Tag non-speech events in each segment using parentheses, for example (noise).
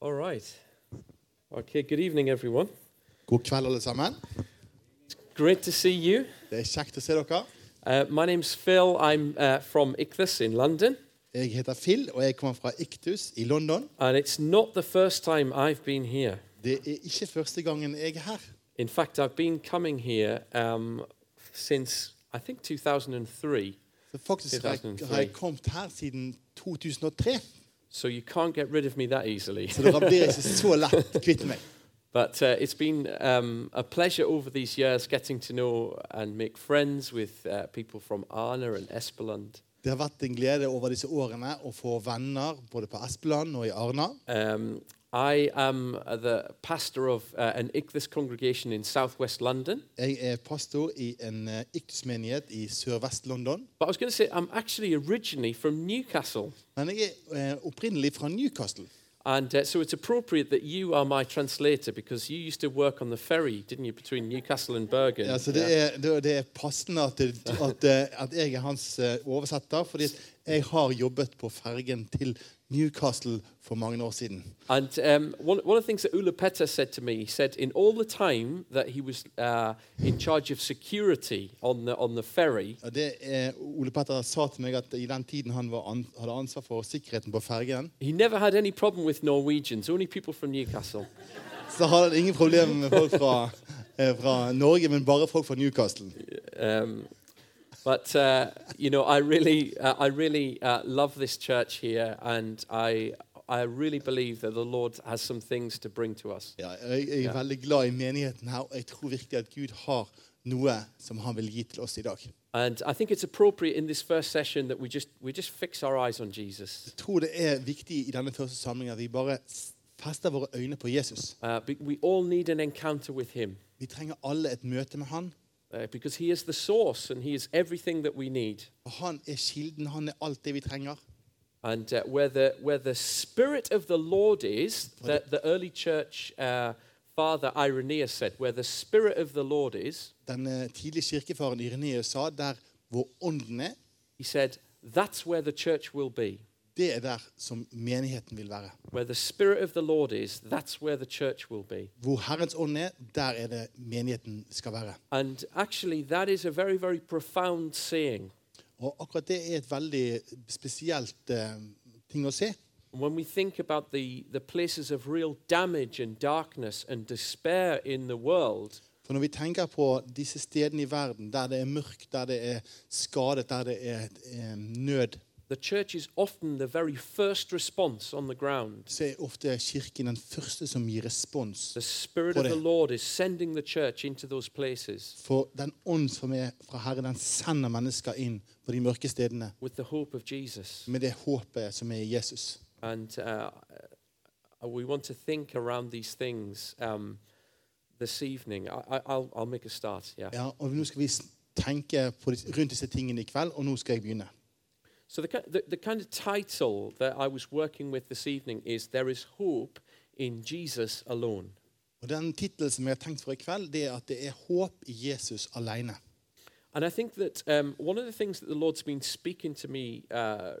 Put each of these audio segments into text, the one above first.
All right. Okay, good evening, everyone. God kveld, alle sammen. Great to see you. Det er kjekt å se dere. Uh, my name's Phil. I'm uh, from ICLIS in London, Jeg heter Phil, og jeg kommer fra Iktus i London. and it's not the first time I've been here. Det er ikke første gangen jeg er her. In fact, I've been coming here um, since I think 2003, Så faktisk har jeg, 2003. har jeg kommet her siden 2003. so you can't get rid of me that easily. Så dere blir ikke så lett kvitt meg. But uh, it's been um, a pleasure over these years getting to know and make friends with uh, people from Arna and Espeland. Det har vært en glede over disse årene å få venner både på Espeland og i Arna. Um, I am uh, the pastor of uh, an ICLIS congregation in southwest London. Jeg er pastor i en eh, Iktus-menighet i Sørvest-London. But I was going to say, I'm actually originally from Newcastle. Men jeg er eh, opprinnelig fra Newcastle. And uh, so it's appropriate that you are my translator because you used to work on the ferry, didn't you, between Newcastle and Bergen? Ja, så det, er, det- det er passende at, det, at, eh, at jeg er hans eh, oversetter, fordi at jeg har jobbet på fergen til Newcastle for mange år siden. And um, one, one of the things that Ula Petter said to me, he said, in all the time that he was uh, in charge of security on the, on the ferry, Og det, eh, Ole Petter sa til meg at i den tiden han var an, hadde ansvar for sikkerheten på fergen, he never had any problem with Norwegians, only people from Newcastle. så hadde han ingen problemer med folk fra, eh, fra Norge, men bare folk fra Newcastle. Um, but uh, you know, I really, uh, I really uh, love this church here, and I, I really believe that the Lord has some things to bring to us. Ja, jeg, jeg er veldig glad i menigheten her, og jeg tror virkelig at Gud har noe som han vil gi til oss i dag. And I think it's appropriate in this first session that we just, we just fix our eyes on Jesus. Jeg tror det er viktig i denne første samlingen at vi bare s- fester våre øyne på Jesus. Uh, be- we all need an encounter with Him Vi trenger alle et møte med han. uh, because He is the source and He is everything that we need. Og han er kilden, han er alt det vi trenger. And uh, where, the, where the Spirit of the Lord is, the, the early church uh, father Irenaeus said, where the Spirit of the Lord is, Den eh, tidlige kirkefaren Ireneus sa der hvor ånden er, He said, That's where the church will be. det er der som menigheten vil være. Where the Spirit of the Lord is, that's where the church will be. Hvor Herrens ånd er, der er det menigheten skal være. And actually, that is a very, very profound saying. Og akkurat det er et veldig spesielt eh, ting å se. When we think about the, the places of real damage and darkness and despair in the world, For når vi tenker på disse stedene i verden der det er mørkt, der det er skadet, der det er eh, nød, the church is often the very first response on the ground. så er ofte kirken den første som gir respons. The Spirit of Ore. the Lord is sending the church into those places For den ånd som er fra Herren, den sender mennesker inn på de mørke stedene with the hope of Jesus. med det håpet som er i Jesus. And uh, uh, we want to think around these things um, this evening. I, I, I'll, I'll make a start, yeah. Ja, og Nå skal vi s- tenke på, dis- rundt disse tingene i kveld, og nå skal jeg begynne. So, the, ki- the, the kind of title that I was working with this evening is There is Hope in Jesus Alone. Og Den tittelen som jeg har tenkt for i kveld, det er at det er håp i Jesus alene. And I think that um, one of the things that the Lord's been speaking to me, uh,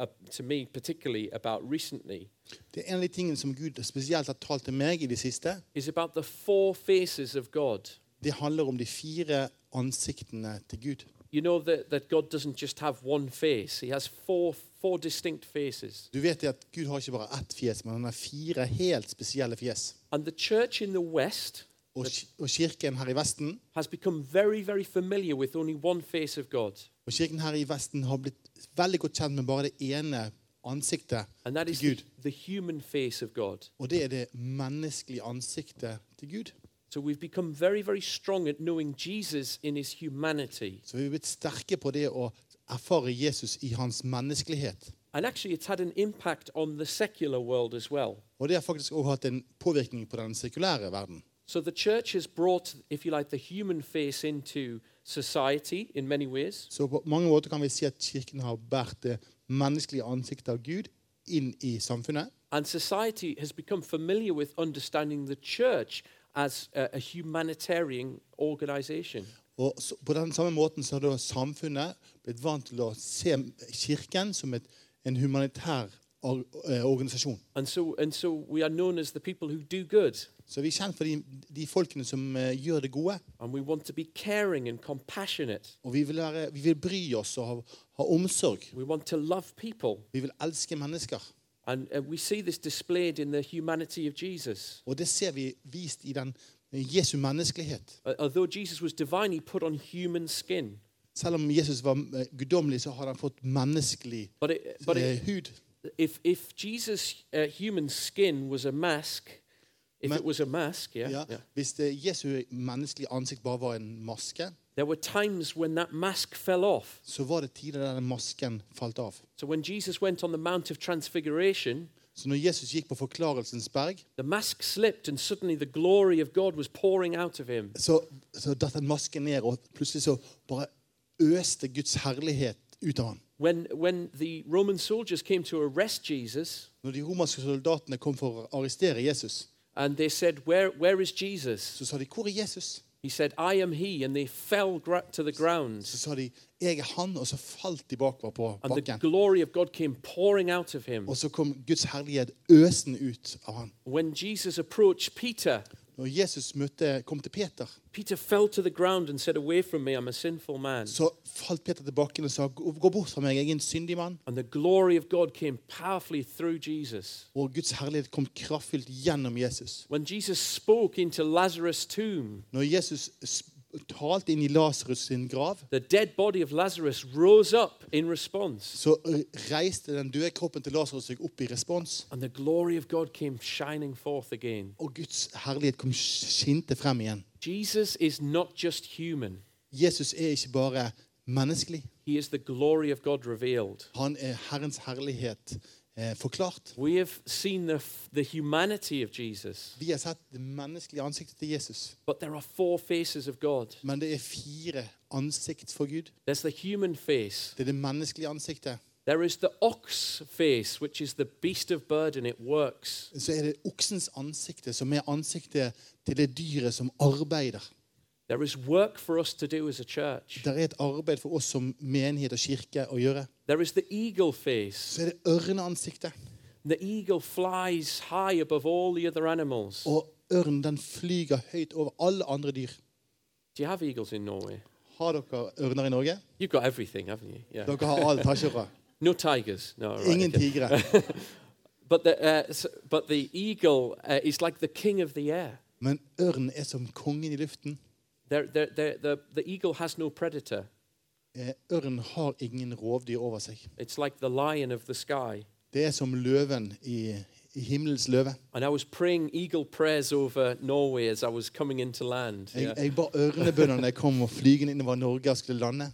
uh, to me particularly about recently, Det er en av de tingene som Gud spesielt har talt til meg i det siste. is about the four faces of God. Det handler om de fire ansiktene til Gud. You know that, that God doesn't just have one face, He has four, four distinct faces. Du vet det at Gud har ikke bare ett fjes, men han har fire helt spesielle fjes. And the church in the West Og, ki- og kirken her i Vesten has become very, very familiar with only one face of God, Og kirken her i Vesten har blitt veldig godt kjent med bare det ene ansiktet and that til is the, Gud. the human face of God. Og det er det menneskelige ansiktet til Gud. So we've become very, very strong at knowing Jesus in his humanity. Så vi er blitt sterke på det å erfare Jesus i hans menneskelighet. And actually, it's had an impact on the secular world as well. Og det har faktisk også hatt en påvirkning på den sekulære verden. So the church has brought, if you like, the human face into society in many ways. Så på mange måter kan vi si at kirken har båret det menneskelige ansiktet av Gud inn i samfunnet. And society has become familiar with understanding the church as a, a humanitarian organization. Og så, på den samme måten så har da samfunnet blitt vant til å se kirken som et, en humanitær or- eh, organisasjon. And so, and so we are known as the people who do good. Så vi er kjent for de, de folkene som eh, gjør det gode. And we want to be caring and compassionate. Og vi vil, være, vi vil bry oss og ha, ha omsorg. We want to love people. Vi vil elske mennesker. And uh, we see this displayed in the humanity of Jesus. Og det ser vi vist i den eh, Jesu menneskelighet. Uh, although Jesus was divine, he put on human skin. Selv om Jesus var eh, guddommelig, så har han fått menneskelig But, it, but eh, it, hud. if, if Jesus' uh, human skin was a mask, if Ma- it was a mask, yeah, Ja. yeah, Hvis det Jesu menneskelige ansikt bare var en maske, there were times when that mask fell off. så var det tider der den masken falt av. So when Jesus went on the Mount of Transfiguration, Så når Jesus gikk på Forklarelsens berg, the mask slipped and suddenly the glory of God was pouring out of him. så, så datt den masken ned, og plutselig så bare øste Guds herlighet ut av ham. When, when the Roman soldiers came to arrest Jesus Når de romerske soldatene kom for å arrestere Jesus, and they said, Where, where is Jesus? så sa de 'Hvor er Jesus?' He said, I am he. And they fell gra- to the Så ground. sa de 'Jeg er han', og så falt de bakover på And the bakken. glory of God came pouring out of him. Og så kom Guds herlighet øsende ut av ham. When Jesus approached Peter, Når Jesus møtte, kom til Peter, Peter fell to the ground and said, Away from me, I'm a sinful man. så falt Peter til bakken og sa 'Gå gå bort fra meg, jeg er en syndig mann'. And the glory of God came powerfully through Jesus. Og Guds herlighet kom kraftfullt gjennom Jesus. When Jesus spoke into Lazarus' tomb, Når Jesus sp- talte inn i Lasarus sin grav, the dead body of Lazarus rose up in response. så eh, reiste den døde kroppen til Lasarus seg opp i respons, And the glory of God came shining forth again. og Guds herlighet kom sk- skinte frem igjen. Jesus is not just human, Jesus er ikke bare menneskelig. he is the glory of God revealed. Han er Herrens herlighet eh, forklart. We have seen the, the humanity of Jesus, Vi har sett det menneskelige ansiktet til Jesus, but there are four faces of God. men det er fire ansikt for Gud. There's the human face, Det er det menneskelige ansiktet. there is the ox face, which is the beast of burden, it works. Så er det oksens ansikte, som er ansiktet til det dyret som arbeider. There is work for us to do as a church. Det er et arbeid for oss som menighet og kirke å gjøre. There is the eagle face. Så er det ørneansiktet. The eagle flies high above all the other animals. Og ørnen den flyger høyt over alle andre dyr. Do you have eagles in Norway? Har dere ørner i Norge? You've got everything, haven't you? Yeah. Dere har alt, har ikke dere? No tigers. No. all Right, Ingen okay. tigre. But the uh, s- but the eagle uh, is like the king of the air. Men ørnen er som kongen i luften. They're, they're, they're, the, the eagle has no predator. Eh, Ørnen har ingen rovdyr over seg. It's like the lion of the sky. Det er som løven i, i himmelens løve. And I was praying eagle prayers over Norway as I was coming into land. Jeg, yeah. jeg ba ørnebønder når jeg kom og flygende innover Norge og skulle lande.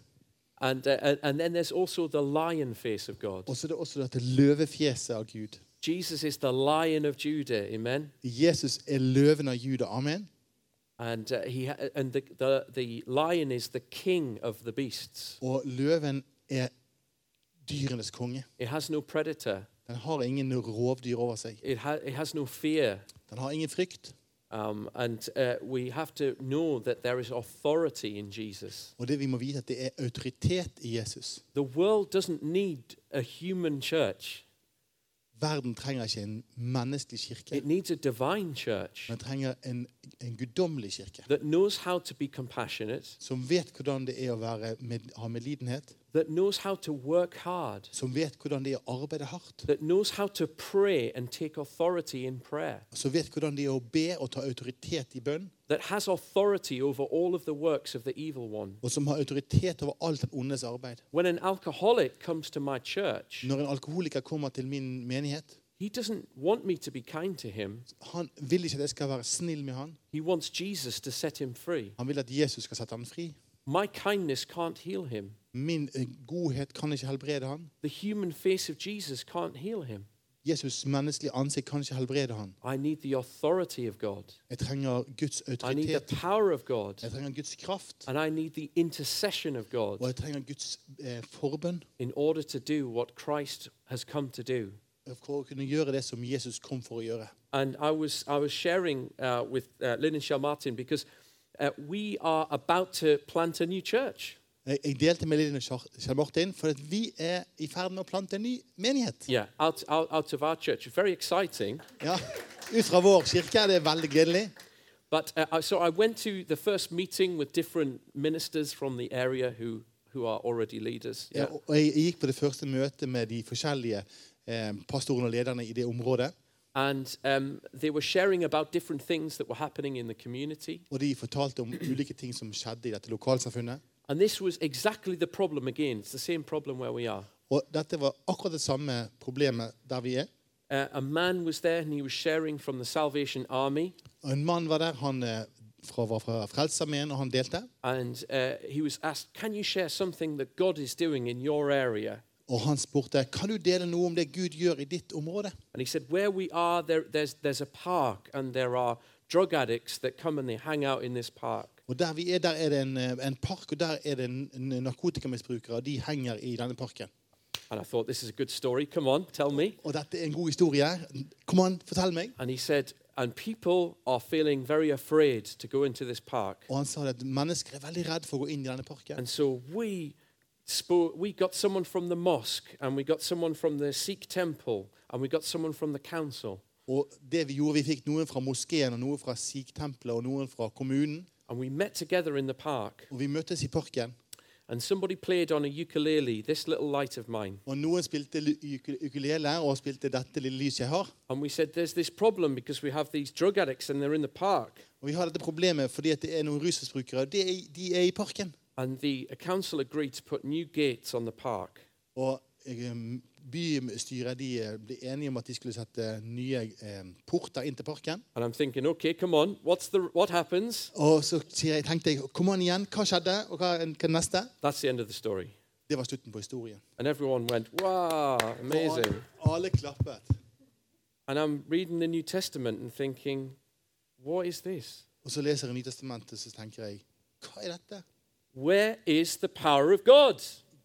And, uh, and, and then there's also the lion face of God. Og så er det også dette løvefjeset av Gud. Jesus is the lion of Judah, amen? Jesus er løven av Juda. Amen. And, uh, he ha- and the, the, the lion is the king of the beasts. Og løven er dyrenes konge. It has no predator, Den har ingen rovdyr over seg. it, ha- it has no fear. Den har ingen frykt. Um, and uh, we have to know that there is authority in Jesus. Og det vi må vite, at det er autoritet i Jesus. The world doesn't need a human church, Verden trenger ikke en menneskelig kirke, it needs a divine church men trenger en, en guddommelig kirke. that knows how to be compassionate, Som vet hvordan det er å være med, ha medlidenhet. that knows how to work hard, Som vet hvordan det er å arbeide hardt. that knows how to pray and take authority in prayer, Som vet hvordan det er å be og ta autoritet i bønn. that has authority over all of the works of the evil one. Og som har autoritet over alt den ondes arbeid. When an alcoholic comes to my church, Når en alkoholiker kommer til min menighet, he doesn't want me to be kind to him. han vil ikke at jeg skal være snill med han. He wants Jesus to set him free. Han vil at Jesus skal sette han fri. My kindness can't heal him. Min eh, godhet kan ikke helbrede han. The human face of Jesus can't heal him. Jesus' menneskelige ansikt kan ikke helbrede han. I need the authority of God. Jeg trenger Guds I need the autoritet. power of God. Jeg trenger Guds kraft. And I need the intercession of Og God jeg trenger Guds eh, forbønn in order to do what Christ has come to do. for å kunne gjøre det som Jesus kom for å gjøre. And I was, I was sharing uh, with uh, Lynn and Shell Martin because uh, we are about to plant a new church. Jeg, jeg delte med Linn og Kjar- Kjell Martin, for at vi er i ferd med å plante en ny menighet. Yeah, out, out, out of our church. Very exciting. Ja, Ut fra vår kirke. Det er veldig gledelig. But uh, I- so I went to the first meeting with different ministers from the area who, who are already leaders. Eh, Og og jeg, jeg gikk på det første møtet med de forskjellige eh, pastorene og lederne i det området. And um, they were sharing about different things that were happening in the community. Og de fortalte om ulike ting som skjedde i dette lokalsamfunnet. And this was exactly the problem again. It's the same problem where we are. Og dette var akkurat det samme problemet der vi er. Uh, a man was there and he was sharing from the Salvation Army. Og En mann var der. Han eh, fra, var fra Frelsesarmeen, og han delte. And uh, he was asked, Can you share something that God is doing in your area? Og han spurte kan du dele noe om det Gud gjør i ditt område. And he said, Where we are, there, there's, there's a park, and there are drug addicts that come and they hang out in this park. Og Der vi er, der er det en, eh, en park, og der er det en, en narkotikamisbrukere. og De henger i denne parken. And I thought, This is a good story. Come on, tell me. Og dette er en god historie. Kom an, fortell meg. And he said, And people are feeling very afraid to go into this park. Og han sa det at mennesker er veldig redd for å gå inn i denne parken. And so we, spoke, we got someone from the mosque, and we got someone from the Sikh temple, and we got someone from the council. Og det Vi gjorde, vi fikk noen fra moskeen, og noen fra sikh-tempelet og noen fra kommunen. And we met together in the park, Og Vi møttes i parken, and somebody played on a ukulele, this little light of mine. og noen spilte lu- uku- ukulele og spilte 'Dette lille lyset jeg har'. And we said, There's this problem because we have these drug addicts and they're in the park. Og Vi har dette problemet fordi at det er noen rusmisbrukere, og det er, de er i parken. And the council agreed to put new gates on the park. Og eh, Bystyret de eh, ble enige om at de skulle sette nye eh, porter inn til parken. And I'm thinking, okay, come on, what's the what happens? Og så sier jeg, tenkte jeg 'Kom an igjen, hva skjedde?' Og hva, hva er det neste? That's the end of the story. Det var slutten på historien. And everyone went, wow, amazing. Og alle klappet. And I'm reading the New Testament and thinking, what is this? Og så leser jeg Nytestamentet, så tenker jeg Hva er dette? Where is the power of God?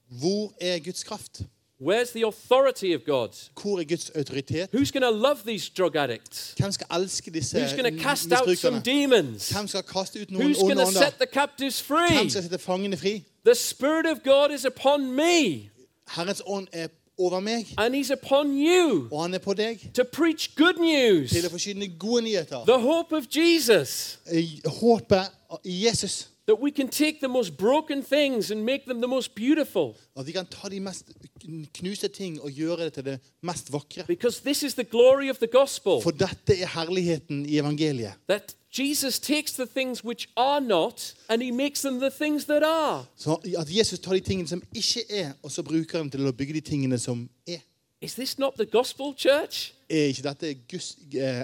Hvor er Guds kraft? Where's the authority of God? Hvor er Guds autoritet? Who's going to love these drug addicts? Hvem skal elske disse Who's going to cast out some misbrukerne? demons? Hvem skal kaste ut noen Who's going onde to ånder? set the captives Hvem free? skal sette fangene fri? The Spirit of God is upon me Herrens ånd er over meg, and He's upon you og han er på deg to preach good til å news, forkynne gode nyheter. the hope of Jesus, I Håpet i Jesus. that we can take the most broken things and make them the most beautiful. At vi kan ta de mest knuste ting og gjøre det til det mest vakre. Because this is the glory of the gospel For dette er herligheten i evangeliet. that Jesus takes the things which are not and He makes them the things that are. Så at Jesus tar de tingene som ikke er, og så bruker han til å bygge de tingene som er. Is this not the gospel, church? Er ikke dette Guds eh,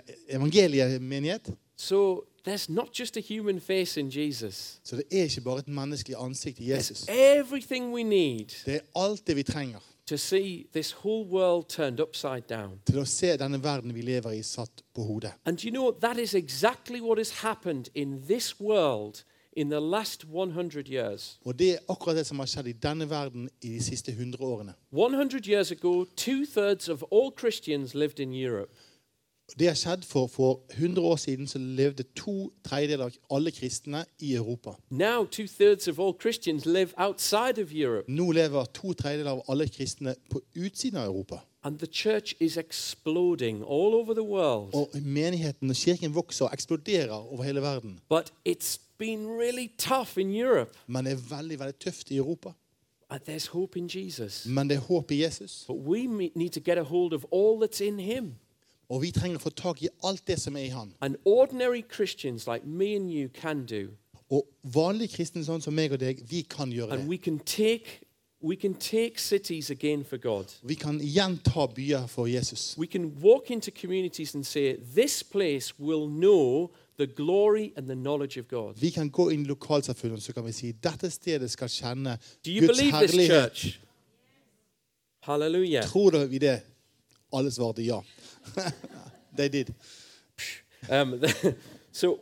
evangeliemenighet? So there's not just a human face in Jesus, Så det er ikke bare et menneskelig ansikt i Jesus. everything we need Det er alt det vi trenger to see this whole world turned upside down. til å se denne verden vi lever i, satt på hodet. And do you know that is exactly what has happened in this world in the last 100 years? Og det er akkurat det som har skjedd i denne verden i de siste 100 årene. 100 years ago, two thirds of all Christians lived in Europe. Det har skjedd for, for 100 år siden så levde to tredjedeler av alle kristne i Europa. Now, two thirds of all Christians live outside of Europe, Nå lever to tredjedeler av alle kristne på utsiden av Europa. and the church is exploding all over the world. Og menigheten og kirken vokser og eksploderer over hele verden. But it's been really tough in Europe. Men det er veldig veldig tøft i Europa. And there's hope in Jesus. Men det er håp i Jesus. But we me- need to get a hold of all that's in Him. Og vi trenger å få tak i alt det som er i han. And ordinary Christians like me and you can do. Og vanlige kristne sånn som meg og deg, vi kan gjøre And det. we can take we can take cities again for God. Vi kan gjenta byer for Jesus. We can walk into communities and say, This place will know the glory and the knowledge of God. Vi kan gå inn i lokalsamfunnet så kan vi si dette stedet skal kjenne Do you Guds believe this, herlighet. church? Hallelujah. Tror dere vi det? Alle svarte ja. (laughs) They did. Um, (laughs) so,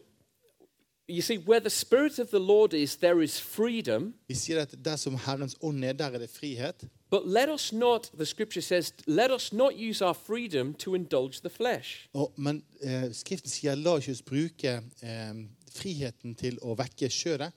you see, where the Spirit of the Lord is, there is freedom. Vi sier at der som Herrens ånd er, der er det frihet. But let us not, the scripture says, let us not use our freedom to indulge the flesh. Og, men eh, Skriften sier la ikke oss bruke eh, friheten til å vekke kjødet.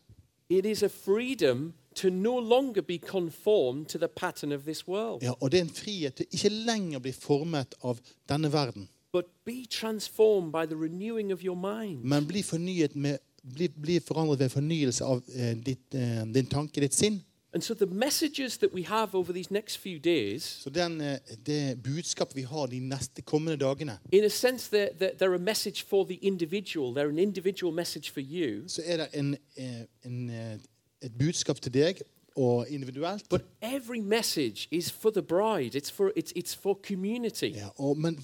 It is a freedom to no longer be conformed to the pattern of this world, Ja, og det er en frihet til ikke lenger å bli formet av denne verden, but be transformed by the renewing of your mind. men bli, fornyet med, bli, bli forandret ved fornyelse av eh, ditt, eh, din tanke, ditt sinn. And so the messages that we have over these next few days, Så den, eh, det budskapet vi har de neste kommende dagene, in a sense, they're, they're, they're a message for the individual. They're an individual message for you. så er det en, eh, en, eh, et budskap til deg og individuelt. But every message is for the bride. It's for, it's, it's for community. Ja, og, men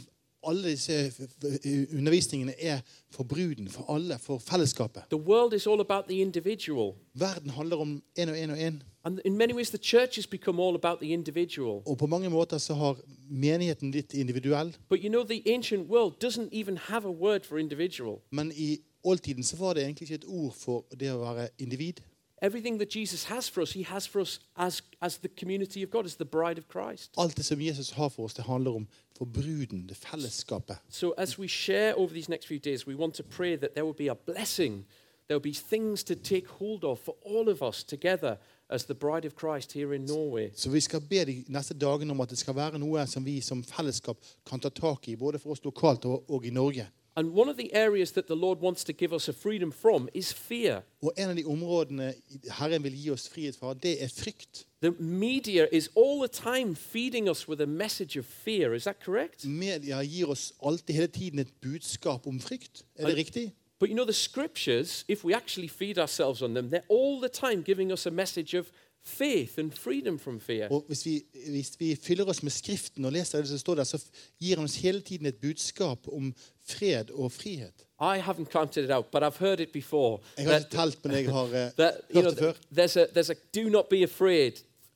alle disse f- f- undervisningene er for bruden, for alle, for fellesskapet. The world is all about the individual. Verden handler om én og én og én. And in many ways, the church has become all about the individual. Og på mange måter så har menigheten blitt individuell. But you know, the ancient world doesn't even have a word for individual. Men i oldtiden så var det egentlig ikke et ord for det å være individ. Everything that Jesus has for us, he has for us as, as the community of God, as the bride of Christ. Alt det som Jesus har for oss, det handler om for bruden, det fellesskapet. So, as we share over these next few days, we want to pray that there will be a blessing. There will be things to take hold of for all of us together as the bride of Christ here in Norway. Så vi skal be de neste dagene om at det skal være noe som vi som fellesskap kan ta tak i, både for oss lokalt og, og i Norge. And one of the areas that the Lord wants to give us a freedom from is fear. Og en av de områdene Herren vil gi oss frihet fra, det er frykt. The media is all the time feeding us with a message of fear. Is that correct? Media gir oss alltid hele tiden et budskap om frykt. Er det riktig? But you know, the scriptures, if we actually feed ourselves on them, they're all the time giving us a message of faith and freedom from fear. Og hvis vi, hvis vi fyller oss med Skriften og leser det som står der, så f- gir han oss hele tiden et budskap om fred og frihet. I haven't counted it out, but I've heard it before. Jeg har That, ikke telt, men jeg har eh, that, you know, hørt (laughs) det før. there's, a, there's a do not be afraid,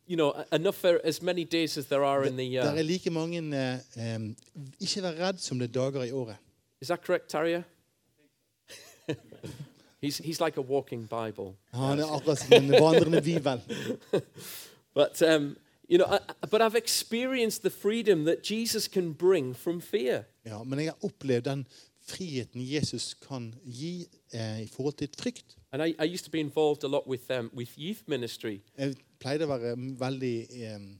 you know, a- enough for as many days as there are in the uh, Der year. er like mange eh, em, Ikke vær redd som det er dager i året. Is that correct, Tarja? (laughs) he's, he's like a walking Bible. Han er akkurat som den vandrende bibel. But, um, you know, I, I- but I've experienced the freedom that Jesus can bring from fear. Ja, men jeg har opplevd den friheten Jesus kan gi eh, i forhold til frykt. And I, I used to be involved a lot with um, with youth ministry, Jeg pleide å være veldig em,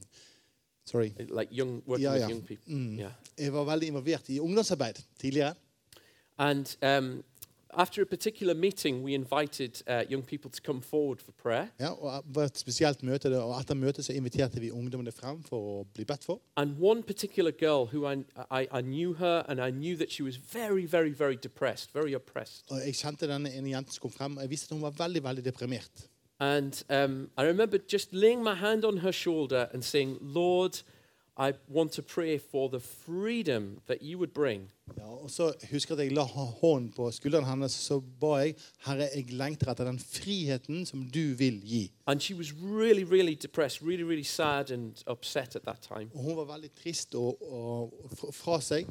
Sorry. like young working Yeah, with yeah. Mm. young people. Yeah. Jeg var veldig involvert i ungdomsarbeid tidligere. And um, after a particular meeting, we invited uh, young people to come forward for prayer. Ja, og det var et spesielt møte, der, og Etter møtet så inviterte vi ungdommene frem for å bli bedt for. And one particular girl who I, I, I knew her, and I knew that she was very, very, very depressed, very oppressed. Og Jeg kjente denne ene jenten som kom frem, og jeg visste at hun var veldig veldig deprimert. And um, I remember just laying my hand on her shoulder and saying, Lord, I want to pray for the freedom that you would bring. Ja, og så husker jeg at jeg la hå- hånden på skulderen hennes så ba jeg, Herre, jeg lengter etter den friheten som du vil gi. And she was really, really depressed, really, really sad and upset at that time. Og Hun var veldig trist og, og f- fra seg.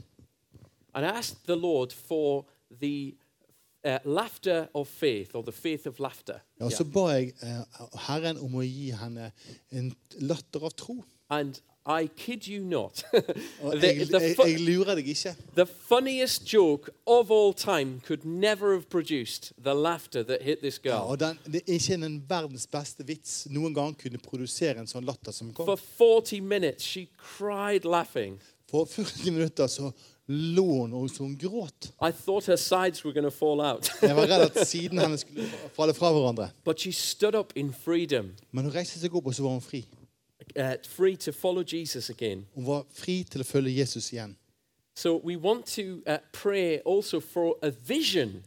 And I asked the Lord for the uh, laughter of faith or the faith of laughter. Ja, og Så ba jeg eh, Herren om å gi henne en latter av tro. And I kid you not, (laughs) Og the, jeg, the, jeg, fu- jeg lurer deg ikke. the funniest joke of all time could never have produced the laughter that hit this Ja, girl. og den, det er ikke den verdens beste vits noen gang kunne produsere en sånn latter som kom. For 40 minutes, she cried laughing. For 40 minutter så lå hun og så hun gråt. I thought her sides were going to fall out. (laughs) Jeg var redd at siden hennes skulle falle fra hverandre. but she stood up in freedom, Men hun reiste seg opp, og så var hun fri. uh, free to follow Jesus again. Hun var fri til å følge Jesus igjen. So we want to uh, pray also for a vision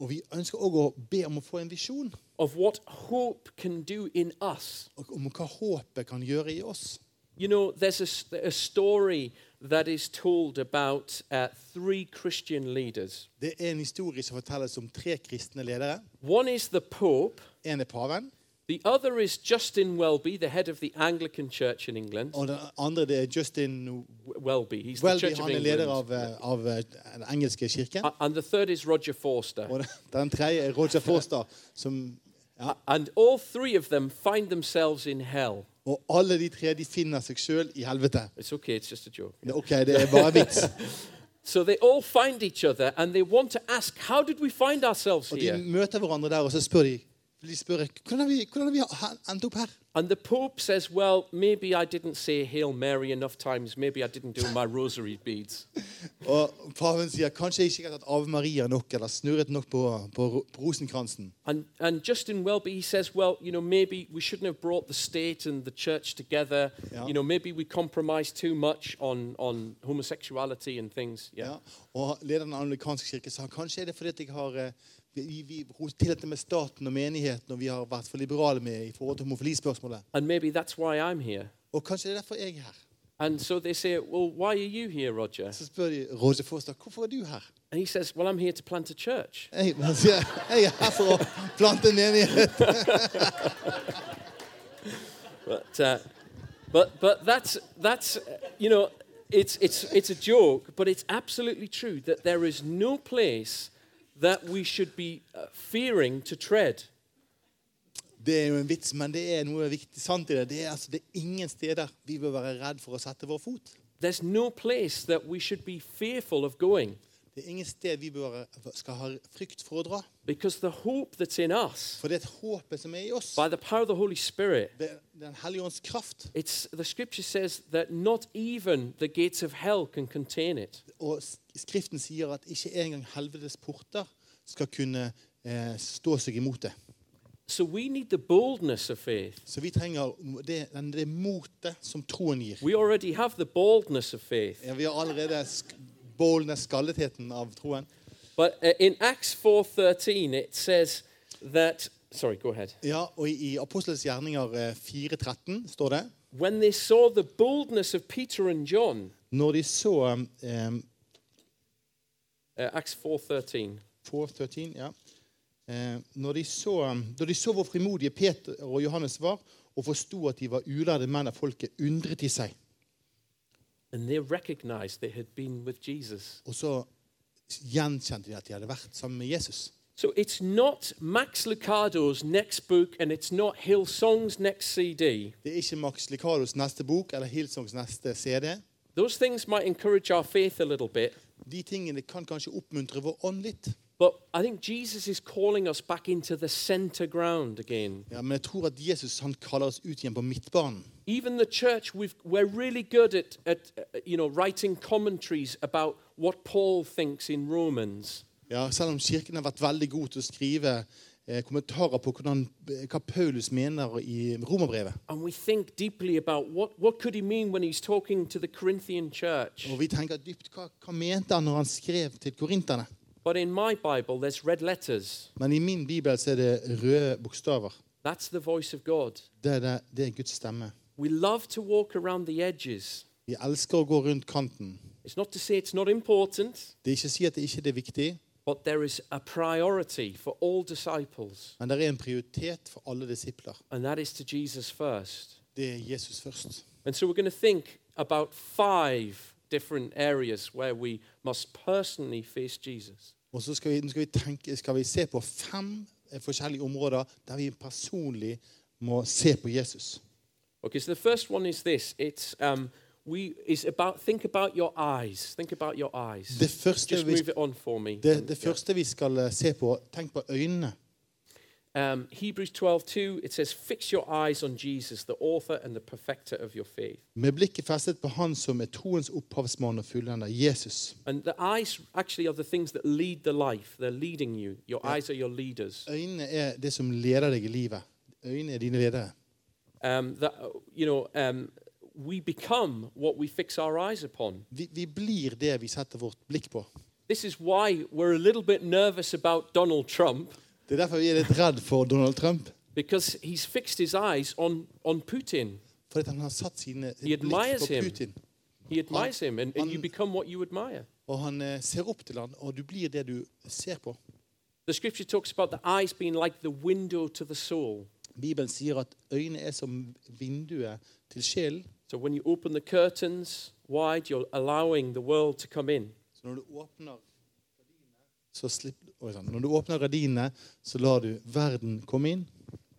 Og vi ønsker òg å be om å få en visjon of what hope can do in us. og om hva håpet kan gjøre i oss. You know, there's a, s- a story that is told about uh, three Christian leaders. Det er en historie som fortelles om tre kristne ledere. One is the Pope, En er paven, the other is Justin Welby, the head of the Anglican Church in England. og den andre det er Justin W- Welby, he's the Welby. Church of Han er leder England. Ah. av, eh, av eh, den engelske kirken. A- Uh, And the third is Roger Forster. Og den- den tredje er Roger Forster. Som, ja, A- And all three of them find themselves in hell. og alle de tre de finner seg sjøl i helvete. It's okay, it's just a joke. Det, ok, det er bare (laughs) vits. So they all find each other and they want to ask, How did we find ourselves Og de here? møter hverandre der, og så spør de de spør hvordan har vi, hvordan har vi ha- endt opp her. And the Pope says, Well, maybe I didn't say Hail Mary enough times. Maybe I didn't do my rosary (laughs) beads. Og paven sier kanskje jeg ikke har tatt Ave Maria nok eller snurret nok på, på, ro- på rosenkransen. And, and Justin Welby, he says, Well, you know, maybe we shouldn't have brought the state and the church together. Yeah. You know, maybe we compromised too much on, on homosexuality and things. Yeah. Ja. Og lederen av den amerikanske kirke sa kanskje er det fordi at jeg har eh, vi, vi ro- tillatt det med staten og menigheten, og vi har vært for liberale med i forhold til homofilispørsmålet. And maybe that's why I'm here. Og kanskje det er derfor jeg er her. And so they say, Well, why are you here, Roger? Så spør de Roger Forstad hvorfor er du her. And he says, Well, I'm here to plant a church. Jeg, han sier, jeg er her for å plante en menighet. But, uh, but, but that's, that's, uh, you know, it's, it's, it's a joke, but it's absolutely true that there is no place that we should be uh, fearing to tread. Det er jo en vits, men det er noe viktig sant i det. Det er, altså, det er ingen steder vi bør være redd for å sette vår fot. There's no place that we should be fearful of going Det er ingen sted vi bør, skal ha frykt for å dra. because the hope that's in us For det er et håpet som er i oss. by the power of the Holy Spirit. Det er Den hellige ånds kraft. It's, the scripture says that not even the gates of hell can contain it. Og s- Skriften sier at ikke engang helvetes porter skal kunne eh, stå seg imot det. So we need the boldness of faith. Så vi trenger det, den- det motet som troen gir. We already have the boldness of faith. Ja, vi har allerede sk bålende skalletheten av troen. But uh, in Acts 4:13 it says that sorry, go ahead. Ja, og I i Apostelens gjerninger eh, 4.13 står det When they saw the boldness of Peter and John, Når de så eh, uh, Acts 4:13. 4.13, ja. Eh, når de så, da de så hvor frimodige Peter og Johannes var, og forsto at de var ulærde menn av folket, undret de seg. And they recognized they had been with Jesus. Og så gjenkjente de at de hadde vært sammen med Jesus. So it's not Max Lucado's next book and it's not Hillsong's next CD. Det er ikke Max Licados neste bok eller Hillsongs neste CD. Those things might encourage our faith a little bit, De tingene kan kanskje oppmuntre vår ånd litt. but I think Jesus is calling us back into the center ground again. Ja, men jeg tror at Jesus han kaller oss ut igjen på midtbanen. even the church we've, we're really good at, at uh, you know writing commentaries about what paul thinks in romans Ja, selv om kirken har vært veldig god til å skrive eh, kommentarer på hvordan, eh, hva Paulus mener i romerbrevet. and we think deeply about what, what could he mean when he's talking to the corinthian church Og vi tenker dypt hva, hva mente han når han skrev til korinterne? but in my bible there's red letters Men i min bibel så er det røde bokstaver. that's the voice of god Det er, det, det er Guds stemme. we love to walk around the edges Vi elsker å gå rundt kanten. it's not to say it's not important Det er ikke å si at det ikke er viktig, but there is a priority for all disciples men det er en prioritet for alle disipler. and that is to jesus first Det er Jesus først. And so we're going to think about five different areas where we must personally face Jesus. Og så skal vi, nå skal vi, tenke, skal vi se på fem eh, forskjellige områder der vi personlig må se på Jesus. Okay, so the first one is this. It's um, we is about think about your eyes. Think about your eyes. Det første, Just vi, move it on for me. det, det første vi skal eh, se på, tenk på øynene. Um, Hebrews 12:2 it says fix your eyes on Jesus, the author and the perfecter of your faith. Med blikket festet på Han som er troens opphavsmann og fullender, Jesus. And the eyes actually are the things that lead the life. They're leading you. Your eyes are your leaders. Øynene er det som leder deg i livet. Øynene er dine ledere. Um, that, you know, um, we become what we fix our eyes upon. Vi, vi blir det vi setter vårt blikk på. This is why we're a little bit nervous about Donald Trump Det er derfor vi er litt redd for Donald Trump. because he's fixed his eyes on, on Putin. Fordi han har satt sine, He sitt blikk admires på him. Putin. He admires him, and, and you on- become what you admire. Og han eh, ser opp til han, og du blir det du ser på. The scripture talks about the eyes being like the window to the soul. Bibelen sier at øynene er som vinduet til sjelen. So when you open the curtains wide, you're allowing the world to come in. Så når du åpner gardinene, så slipper, oi, sann. når du åpner gardinene, så lar du verden komme inn.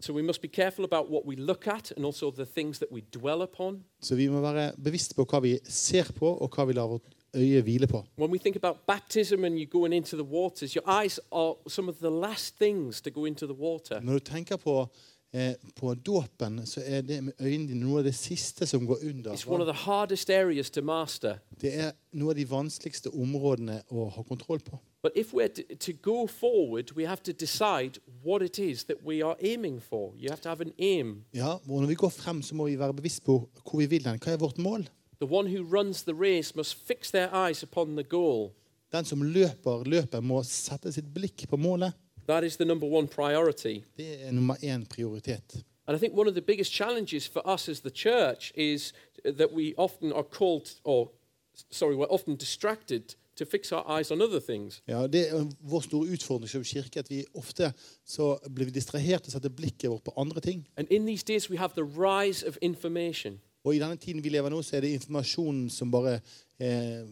So we must be careful about what we look at and also the things that we dwell upon. Så vi må være bevisste på hva vi ser på, og hva vi lar vårt øyet hviler på. When we think about baptism and you going into the waters, your eyes are some of the last things to go into the water. Når du tenker på, eh, på dåpen, så er det med øynene dine noe av det siste som går under. It's one of the hardest areas to master. Det er noe av de vanskeligste områdene å ha kontroll på. But if we're to, to go forward, we have to decide what it is that we are aiming for. You have to have an aim. Ja, og Når vi går frem, så må vi være bevisst på hvor vi vil hen. Hva er vårt mål? The one who runs the race must fix their eyes upon the goal. Den som løper løpet, må sette sitt blikk på målet. That is the number one priority. Det er nummer én prioritet. And I think one of the biggest challenges for us as the church is uh, that we often are called, or sorry, we're often distracted to fix our eyes on other things. Ja, det er Vår store utfordring som kirke at vi ofte så blir vi distrahert og setter blikket vårt på andre ting. And in these days, we have the rise of information. Og I denne tiden vi lever nå, så er det informasjonen som bare eh,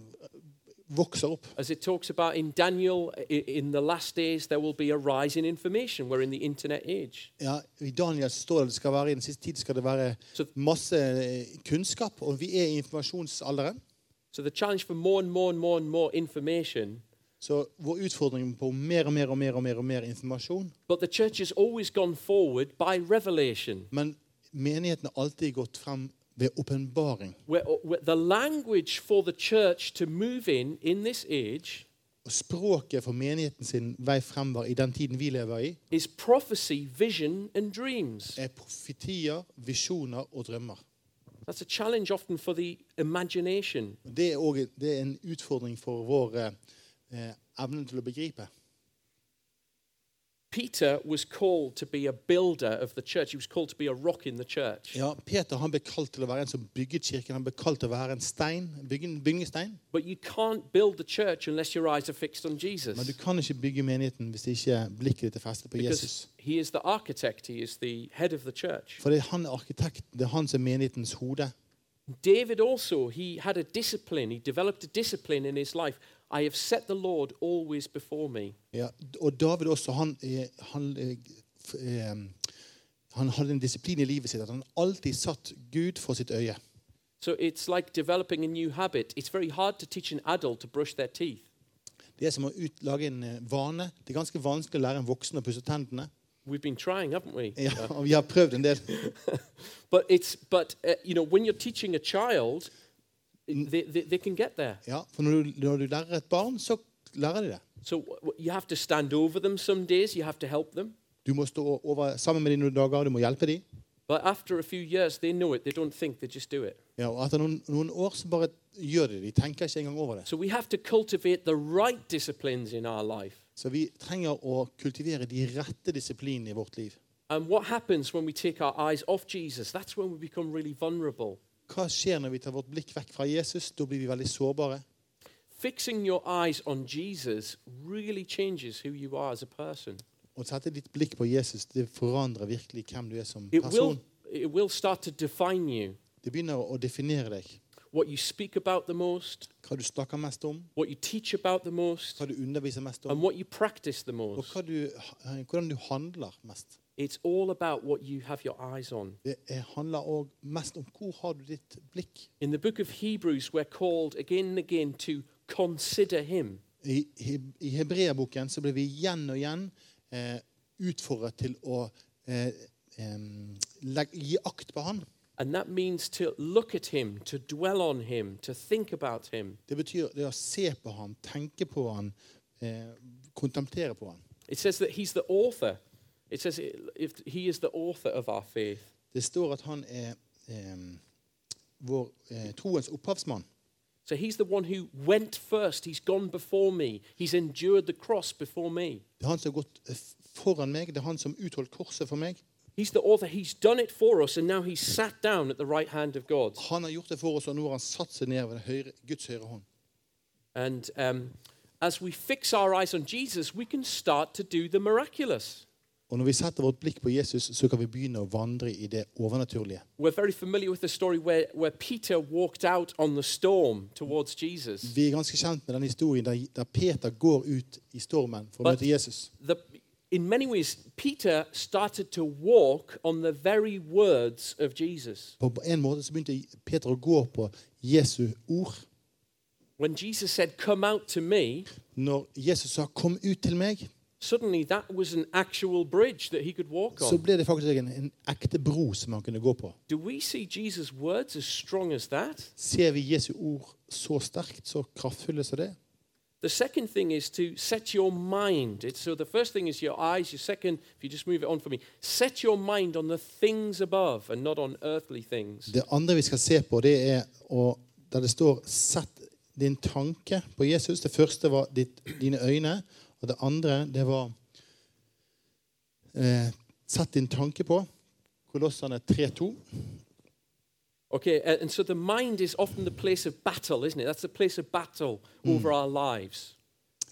vokser opp. As it talks about in Daniel, i- in the last days, there will be a rise in information. We're in the internet age. Ja, I Daniel står det det skal være i den siste tid skal det være Så- masse eh, kunnskap. Og vi er i informasjonsalderen. So the challenge for more and more and more and more information. Så vår utfordring på mer og mer og mer og mer og mer informasjon. But the church has always gone forward by revelation. Men menigheten har alltid gått frem ved åpenbaring. Where, uh, where the language for the church to move in in this age Og språket for menigheten sin vei frem var i den tiden vi lever i, is prophecy, vision, and dreams. er profetier, visjoner og drømmer. That's a challenge often for the imagination. Og Det er, også, det er en utfordring for vår eh, eh, evne til å begripe. Peter was called to be a builder of the church. He was called to be a rock in the church. Ja, Peter han ble kalt til å være en som bygget kirken. Han ble kalt til å være en stein, en bygge- byggestein. But you can't build the church unless your eyes are fixed on Men du Jesus. kan ikke bygge menigheten hvis ikke blikket ditt er festet på Jesus. Because he is the architect, he is the head of the church. For det er han er arkitekten, det er han som er menighetens hode. David also, he had a discipline. He developed a discipline in his life. I have set the Lord always before me. Ja, og David også, han, eh, han, eh, f- eh, han hadde en disiplin i livet sitt at han alltid satt Gud for sitt øye. So it's like developing a new habit. It's very hard to teach an adult to brush their teeth. Det er som å ut, lage en eh, vane. Det er ganske vanskelig å lære en voksen å pusse tennene. We've been trying, haven't we? Uh, Ja, og (laughs) vi har prøvd en del. But it's but uh, you know when you're teaching a child, they, they, they can get there. Ja, for når du, når du lærer et barn, så lærer de det. So w- w- you have to stand over them some days. You have to help them. Du må stå over, sammen med dem noen dager, du må hjelpe dem. But after a few years, they know it. They don't think. They just do it. Ja, og etter noen, noen år så bare gjør de det. De tenker ikke engang over det. So we have to cultivate the right disciplines in our life. Så vi trenger å kultivere de rette disiplinene i vårt liv. And what happens when we take our eyes off Jesus? That's when we become really vulnerable. Hva skjer når vi tar vårt blikk vekk fra Jesus? Da blir vi veldig sårbare. Fixing your eyes on Jesus really changes who you are as a person. Å sette ditt blikk på Jesus det forandrer virkelig hvem du er som It person. will, it will start to define you. Det begynner å definere deg. What you speak about the most, Hva du snakker mest om, what you teach about the most, hva du underviser mest om, and what you practice the og most. hva du, eh, hvordan du handler mest. It's all about what you have your eyes on. Det er- handler òg mest om hvor har du ditt blikk. In the book of Hebrews, we're called again and again to consider him. I, i, i hebreerboken så blir vi igjen og igjen eh, utfordret til å eh, em, legge- gi akt på han. And that means to look at him, to dwell on him, to think about him. Det betyr det å se på han, tenke på han, eh, kontemplere på han. It says that he's the author. It says i- if he is the author of our faith. Det står at han er eh, vår eh, troens opphavsmann. So he's the one who went first. He's gone before me. He's endured the cross before me. Det er han som har gått eh, f- foran meg, det er han som utholdt korset for meg. He's the author. He's done it for us, and now he's sat down at the right hand of God. Han har gjort det for oss, og nå har han satt seg ned ved den høyre, Guds høyre hånd. And um, as we fix our eyes on Jesus, we can start to do the miraculous. Og når vi setter vårt blikk på Jesus, så kan vi begynne å vandre i det overnaturlige. We're very familiar with the story where, where Peter walked out on the storm towards Jesus. Vi er ganske kjent med den historien der, der Peter går ut i stormen for å But- møte Jesus. The, in many ways, Peter started to walk on the very words of Jesus. På en måte så begynte Peter å gå på Jesu ord. When Jesus said, Come out to me, Når Jesus sa 'kom ut til meg', suddenly that was an actual bridge that he could walk så on. ble det faktisk en, en ekte bro som han kunne gå på. Do we see Jesus' words as strong as that? Ser vi Jesu ord så sterkt, så kraftfulle som det? The second thing is to set your mind. It's, so the first thing is your eyes. Your second, if you just move it on for me, set your mind on the things above and not on earthly things. Det andre vi skal se på, det er å, der det står 'sett din tanke på Jesus'. Det første var ditt, dine øyne. Og det andre, det var eh, 'sett din tanke på'. Kolossene 3.2. Okay, a- and so the mind is often the place of battle, isn't it? That's the place of battle over our lives.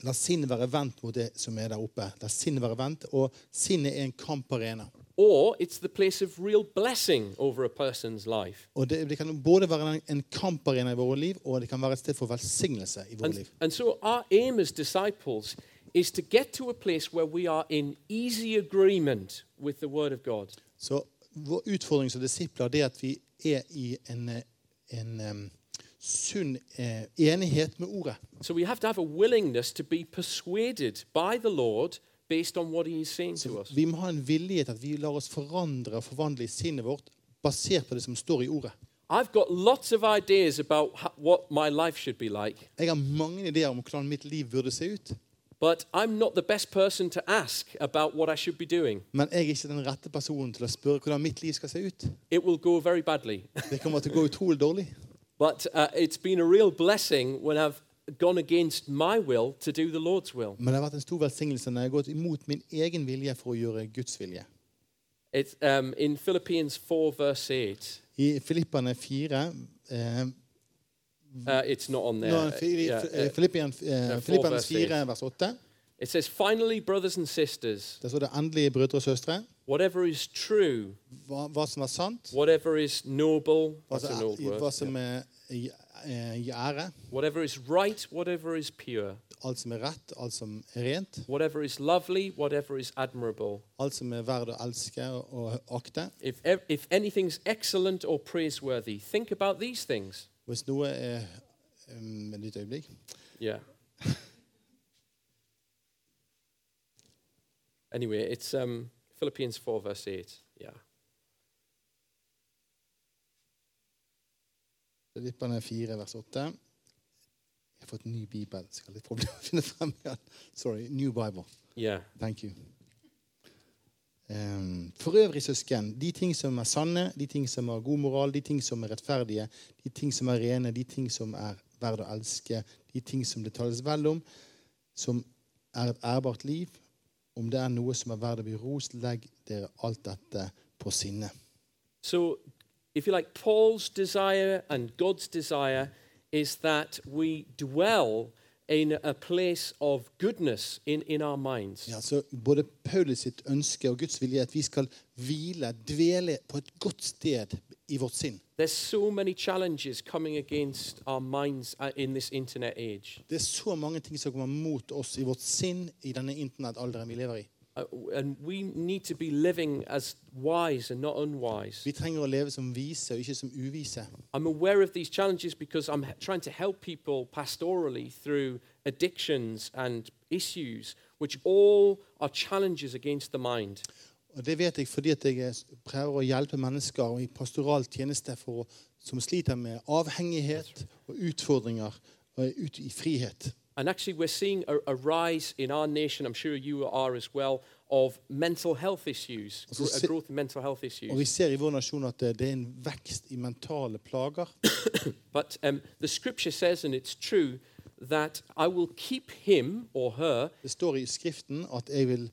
La sinnet være vendt mot det som er der oppe. La sinnet være vendt, og sinnet er en kamparena. Or it's the place of real blessing over a person's life. Og det, det kan både være en- en kamparena i våre liv, og det kan være et sted for velsignelse i våre And, liv. and so our aim as disciples is to get to a place where we are in easy agreement with the Word of God. Så vår utfordring som disipler det er at vi er i en, eh, en em, sunn eh, enighet med ordet. So we have to have a willingness to be persuaded by the Lord based on what He is saying to us. Vi må ha en vilje til at vi lar oss forandre og forvandle i sinnet vårt basert på det som står i ordet. I've got lots of ideas about ho- what my life should be like, Jeg har mange ideer om hvordan mitt liv burde se ut, but I'm not the best person to ask about what I should be doing. men jeg er ikke den rette personen til å spørre hvordan mitt liv skal se ut. It will go very badly. Det kommer til å gå utrolig dårlig. but uh, it's been a real blessing when I've gone against my will to do the Lord's will. Men det har vært en stor velsignelse når jeg har gått imot min egen vilje for å gjøre Guds vilje. It's um, in Philippians 4, verse 8. I Filipperne 4 eh, Uh, it's not on there. nå, Fili- Yeah, eh, uh, Filippian- eh, four Filippernes vers 4, vers 8. it says, Finally, brothers and sisters, Der står det endelig, brødre og søstre, whatever is true, hva, hva som er sant, whatever is noble, hva that's som an er, old word, hva som er i, eh, i ære, whatever is right, whatever is pure, alt som er rett, alt som er rent, whatever is lovely, whatever is admirable, alt som er verdt å elske og akte. if, ev- if anything's excellent or praiseworthy, think about these things. Hvis noe er um, Et nytt øyeblikk. Yeah. (laughs) anyway, it's um, Philippians 4, verse 8. Yeah. Filipperne 4, vers 8. Jeg har fått ny bibel, så jeg har litt problemer med å finne frem igjen. Sorry, New Bible. Yeah. Thank you. Ehm, for øvrig, søsken, de ting som er sanne, de ting som har god moral, de ting som er rettferdige, de ting som er rene, de ting som er verdt å elske, de ting som det tales vel om, som er et ærbart liv, om det er noe som er verdt å bli rost, legg dere alt dette på sinne. So, if you like, Paul's desire and God's desire is that we dwell in a place of goodness in, in our minds. Ja, så både Paulus sitt ønske og Guds vilje er at vi skal hvile, dvele på et godt sted i vårt sinn. There's so many challenges coming against our minds uh, in this internet age. Det er så mange ting som kommer mot oss i vårt sinn i denne internettalderen vi lever i. Uh, and we need to be living as wise and not unwise. Vi trenger å leve som vise og ikke som uvise. I'm aware of these challenges because I'm h- trying to help people pastorally through addictions and issues, which all are challenges against the mind. Og Det vet jeg fordi at jeg s- prøver å hjelpe mennesker i pastoral tjeneste for å, som sliter med avhengighet og utfordringer og er ute i frihet. And actually, we're seeing a, a rise in our nation, I'm sure you are as well, of mental health issues, Also gro- si- a growth in mental health Og issues. Vi ser i vår nasjon at det det er en vekst i mentale plager. But um, the scripture says, and it's true, that I will keep him or her Det står i Skriften at jeg vil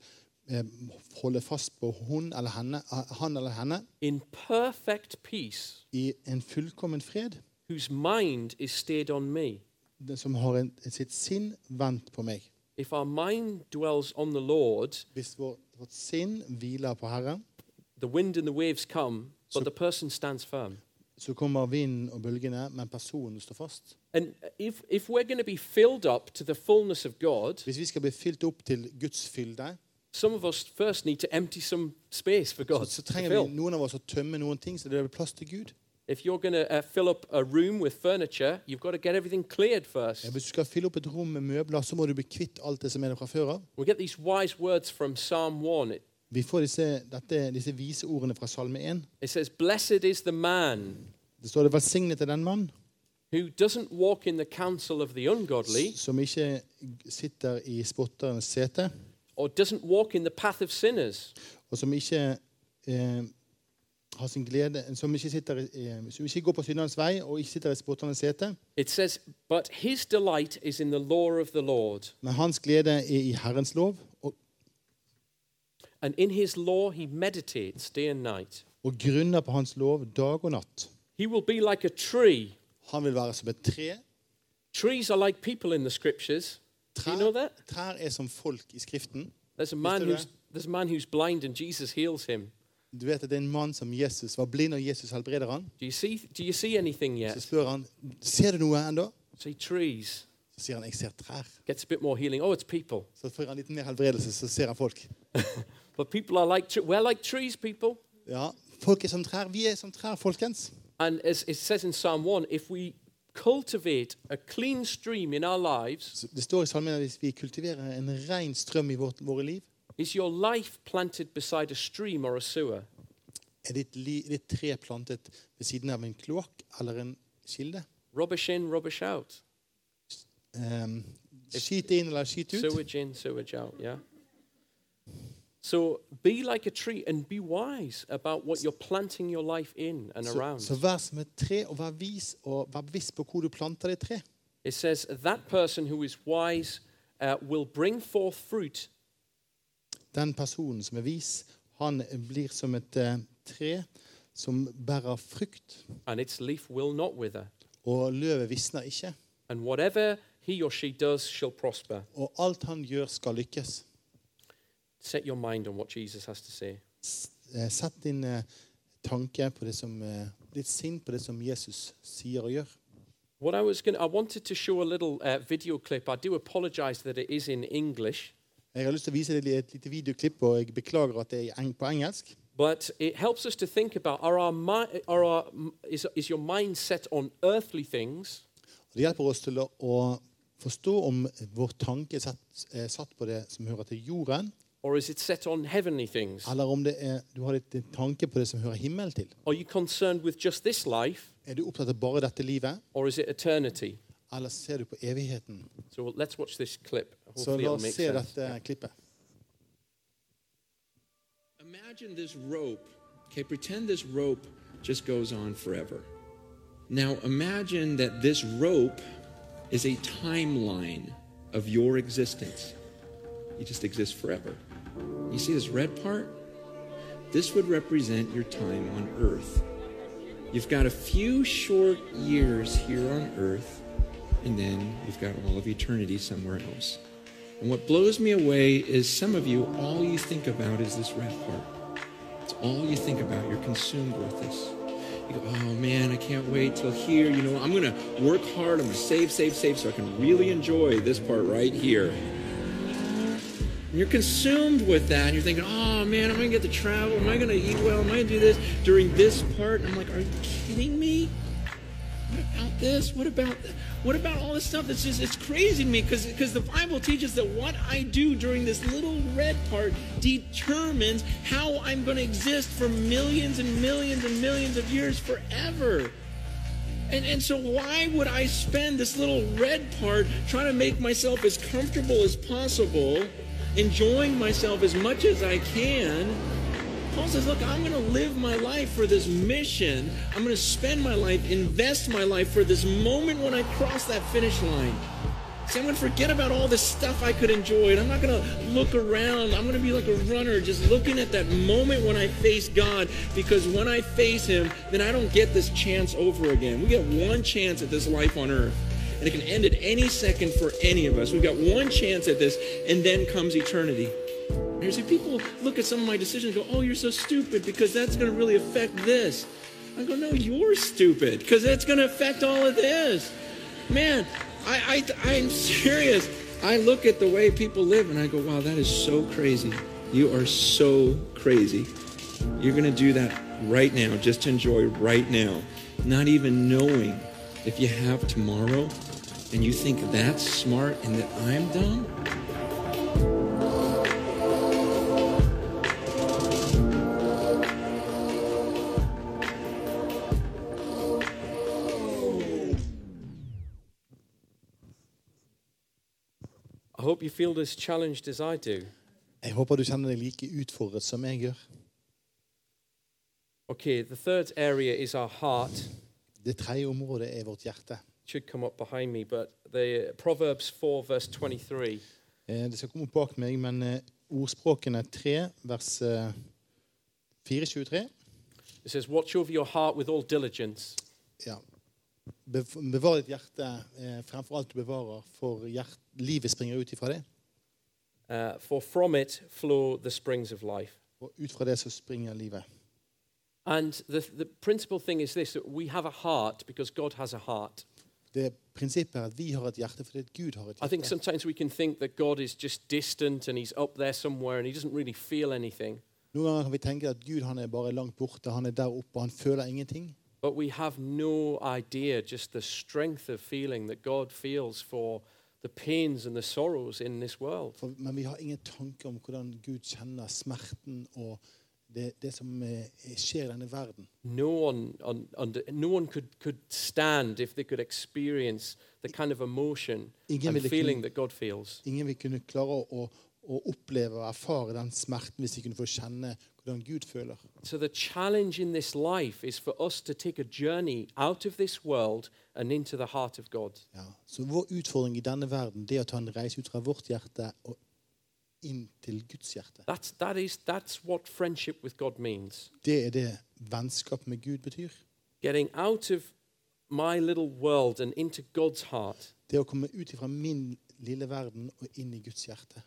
eh, holde fast på hun eller henne, han eller henne in perfect peace, i en fullkommen fred whose mind is stayed on me. den som har en, sitt sinn vendt på meg. If our mind dwells on the Lord, Hvis vår- vårt sinn hviler på Herren, the wind and the waves come, So- but the person stands firm. så kommer vinden og bølgene, men personen står fast. And if, if we're going to be filled up to the fullness of God, Hvis vi skal bli fylt opp til Guds fylde, some of us first need to empty some space for så, God så to trenger fill. vi noen av oss å tømme noen ting, så det blir plass til Gud. if you're going to uh, fill up a room with furniture, you've got to get everything cleared first. Ja, Hvis du skal fylle opp et rom med møbler, så må du bli kvitt alt det som er der fra før av. We get these wise words from Psalm 1. It, Vi får disse, dette, disse vise ordene fra Salme 1. it says, Blessed is the man Det står det 'velsignet er den mann who doesn't walk in the counsel of the ungodly, som ikke sitter i spotterens sete, or doesn't walk in the path of sinners, og som ikke eh, har sin glede Som ikke, sitter, i- eh, som ikke går på syndernes vei og ikke sitter i spotterens sete, It says, But his delight is in the law of the Lord, men hans glede er i Herrens lov, og, and in his law he meditates day and night. og grunner på hans lov dag og natt. He will be like a tree. Han vil være som et tre. Trees are like people in the scriptures. Do you know Trær, that? trær er som folk i Skriften. There's a man Mr. who's Ra- there's a man who's blind and Jesus heals him. Du vet at det er en mann som Jesus var blind, og Jesus helbreder han. Do you see do you see anything Så yet? spør han ser du noe ennå. See trees. Så sier han jeg ser trær. Gets a bit more healing. Oh, it's people. Så får han litt mer helbredelse, så ser han folk. But people are like tre- we're like trees, people. Ja, Folk er som trær. Vi er som trær, folkens. And as it says in Psalm 1, if we cultivate a clean stream in our lives, Så Det står i salmen at hvis vi kultiverer en ren strøm i vårt, våre liv, Is your life planted beside a stream or a sewer? er ditt, li, ditt tre plantet ved siden av en kloakk eller en kilde. Rubbish in, rubbish out. Ehm, skyt inn eller skyt ut. Sewage in, sewage out, yeah? So be like a tree and be wise about what you're planting your life in and Så, around. så vær som et tre, og vær vis og vær bevisst på hvor du planter det tre. It says, that person who is wise uh, will bring forth fruit. Den personen som er vis, han blir som et eh, tre som bærer frukt, And its leaf will not wither. og løvet visner ikke. And whatever he or she does shall prosper. Og alt han gjør, skal lykkes. Set your mind on what Jesus has to say. S- eh, Sett din eh, tanke på det som eh, Ditt sinn på det som Jesus sier og gjør. What I was going to, I wanted to show a little uh, video clip. I do apologize that it is in English. Jeg har lyst til å vise deg et lite videoklipp, og jeg beklager at det er i eng- på engelsk. But it helps us to think about are our, mi- are our is, is your mind set on earthly things Og det hjelper oss til å- å forstå om vår tanke er satt, er satt på det som hører til jorden, or is it set on heavenly things? eller om det er, du har ditt- din tanke på det som hører himmelen til. Are you concerned with just this life Er du opptatt av bare dette livet, or is it eternity? eller ser du på evigheten? So let's watch this clip. Så Hopefully la it'll oss make se sense. dette klippet. Imagine this rope. Okay, pretend this rope just goes on forever. Now imagine that this rope is a timeline of your existence. You just exist forever. You see this red part? This would represent your time on earth. You've got a few short years here on earth, and then you've got all of eternity somewhere else. And what blows me away is some of you, all you think about is this red part. It's all you think about. You're consumed with this. You go, oh man, I can't wait till here. You know, I'm going to work hard. I'm going to save, save, save so I can really enjoy this part right here. And you're consumed with that. And you're thinking, oh man, am I going to get to travel? Am I going to eat well? Am I going to do this during this part? And I'm like, are you kidding me? What about this? What about th- what about all this stuff? That's just it's crazy to me because because the Bible teaches that what I do during this little red part determines how I'm going to exist for millions and millions and millions of years forever. And, and so, why would I spend this little red part trying to make myself as comfortable as possible, enjoying myself as much as I can? Paul says, Look, I'm going to live my life for this mission. I'm going to spend my life, invest my life for this moment when I cross that finish line. See, I'm going to forget about all this stuff I could enjoy, and I'm not going to look around. I'm going to be like a runner, just looking at that moment when I face God, because when I face Him, then I don't get this chance over again. We get one chance at this life on earth, and it can end at any second for any of us. We've got one chance at this, and then comes eternity. And You see, people look at some of my decisions and go, oh, you're so stupid because that's going to really affect this. I go, no, you're stupid because that's going to affect all of this. Man, I, I, I'm serious. I look at the way people live and I go, wow, that is so crazy. You are so crazy. You're going to do that right now, just to enjoy right now, not even knowing if you have tomorrow, and you think that's smart and that I'm dumb? I hope you feel as challenged as I do. Jeg håper du kjenner deg like utfordret som jeg gjør. Okay, the third area is our heart. Det tredje området er vårt hjerte. It should come up behind me, but the Proverbs 4 verse 23. Eh, Det skal komme opp bak meg, men eh, ordspråkene 3, vers eh, 4-23 It says, "Watch over your heart with all diligence, ja. Bev- Bevar ditt hjerte eh, fremfor alt du bevarer, for hjert, livet springer ut ifra det. uh, for from it flow the springs of life." Og ut fra det så springer livet. And the, the principal thing is this: that we have a heart because God has a heart. Det prinsippet er at vi har et hjerte fordi at Gud har et I think hjerte. sometimes we can think that God is just distant and He's up there somewhere and He doesn't really feel anything. Noen ganger kan vi tenke at Gud han er bare langt borte, han er der oppe, han føler ingenting. But we have no idea just the strength of feeling that God feels for the pains and the sorrows in this world. For, men vi har ingen tanke om hvordan Gud kjenner smerten og det, det som eh, skjer i denne verden. No one, on, under, no one could, could stand if they could experience the kind of emotion Ingen and ville kunne- feeling that God feels. Ingen vil kunne klare å, å oppleve og erfare den smerten hvis de kunne få kjenne hvordan Gud føler. So, the challenge in this life is for us to take a journey out of this world and into the heart of God. Ja. Så vår utfordring i denne verden det er å ta en reise ut fra vårt hjerte og inn til Guds hjerte. That's, that is, that's what friendship with God means. Det er det vennskap med Gud betyr. getting out of my little world and into God's heart. Det er å komme ut fra min lille verden og inn i Guds hjerte.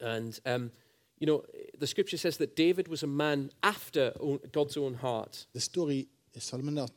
And, um, you know, the scripture says that David was a man after o- God's own heart. Det står i salmene at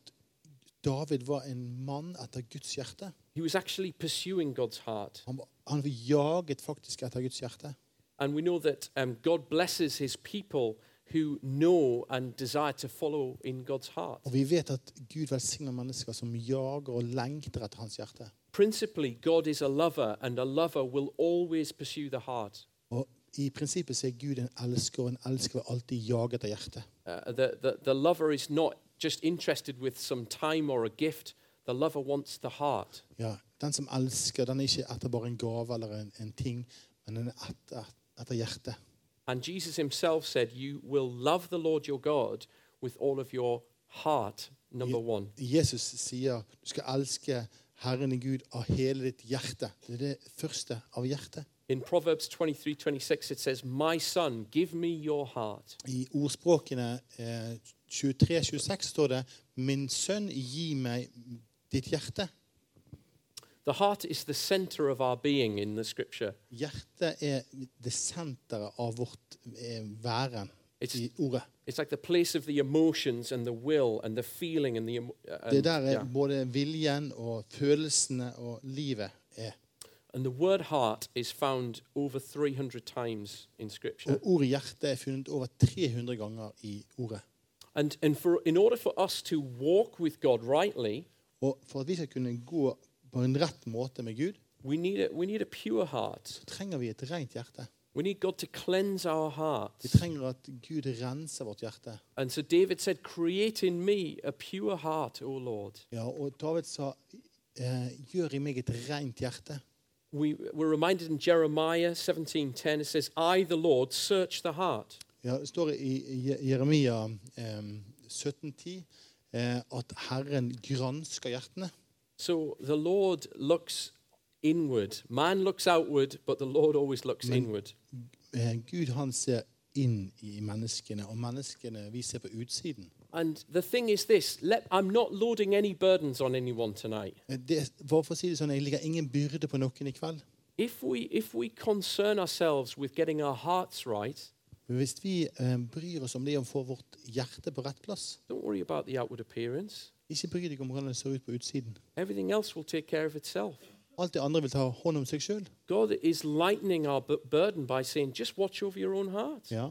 David var en mann etter Guds hjerte. He was actually pursuing God's heart. Han, var- han var jaget faktisk etter Guds hjerte. And we know that um, God blesses his people who know and desire to follow in God's heart. Og vi vet at Gud velsigner mennesker som jager og lengter etter hans hjerte. Principally, God is a lover, and a lover will always pursue the heart. Og i prinsippet så er Gud en elsker, og en elsker vil alltid jage etter hjertet. Uh, the, the, the lover is not just interested with some time or a gift, the lover wants the heart. Ja, Den som elsker, den er ikke etter bare en gave eller en, en ting, men den er etter, etter hjertet. And Jesus himself said, You will love the Lord your God with all of your heart, number one. Jesus sier du skal elske Herren din Gud av hele ditt hjerte. Det er det første av hjertet. In Proverbs 23 26, it says, My son, give me your heart. I ordspråkene eh, 23-26 står det Min sønn, gi meg ditt hjerte. The heart is the center of our being in the scripture. Hjertet er det senteret av vårt eh, væren It's- i ordet. It's like the place of the emotions and the will and the feeling and the. emo- uh, And, Det er der er yeah. både viljen og følelsene og livet er. And the word heart is found over 300 times in scripture. Og ordet hjerte er funnet over 300 ganger i ordet. And, and for, in order for us to walk with God rightly, Og for at vi skal kunne gå på en rett måte med Gud, we need a, we need a pure heart. trenger vi et rent hjerte. We need God to cleanse our Vi hearts. trenger at Gud renser vårt hjerte. And so David said, Create in me a pure heart, O Lord. Ja, og David sa, eh, gjør i meg et rent hjerte. We, we're reminded in Jeremiah 17:10, it says, I, the Lord, search the heart. Ja, det står i i Jeremia eh, 17,10 eh, at Herren gransker hjertene. So the Lord looks inward. Man looks outward, but the Lord always looks inward. Eh, Gud han ser inn i menneskene, og menneskene vi ser på utsiden. And the thing is this let, I'm not loading any burdens on anyone tonight. Eh, Det, bare for å si det sånn, Jeg ligger ingen byrde på noen i kveld. If we, if we concern ourselves with getting our hearts right, Men hvis vi eh, bryr oss om det å få vårt hjerte på rett plass don't worry about the outward appearance. Ikke bry deg om hvordan det ser ut på utsiden. Everything else will take care of itself. Alt det andre vil ta hånd om seg sjøl. God is lightening our bu- burden by saying, just watch over your own heart. Ja.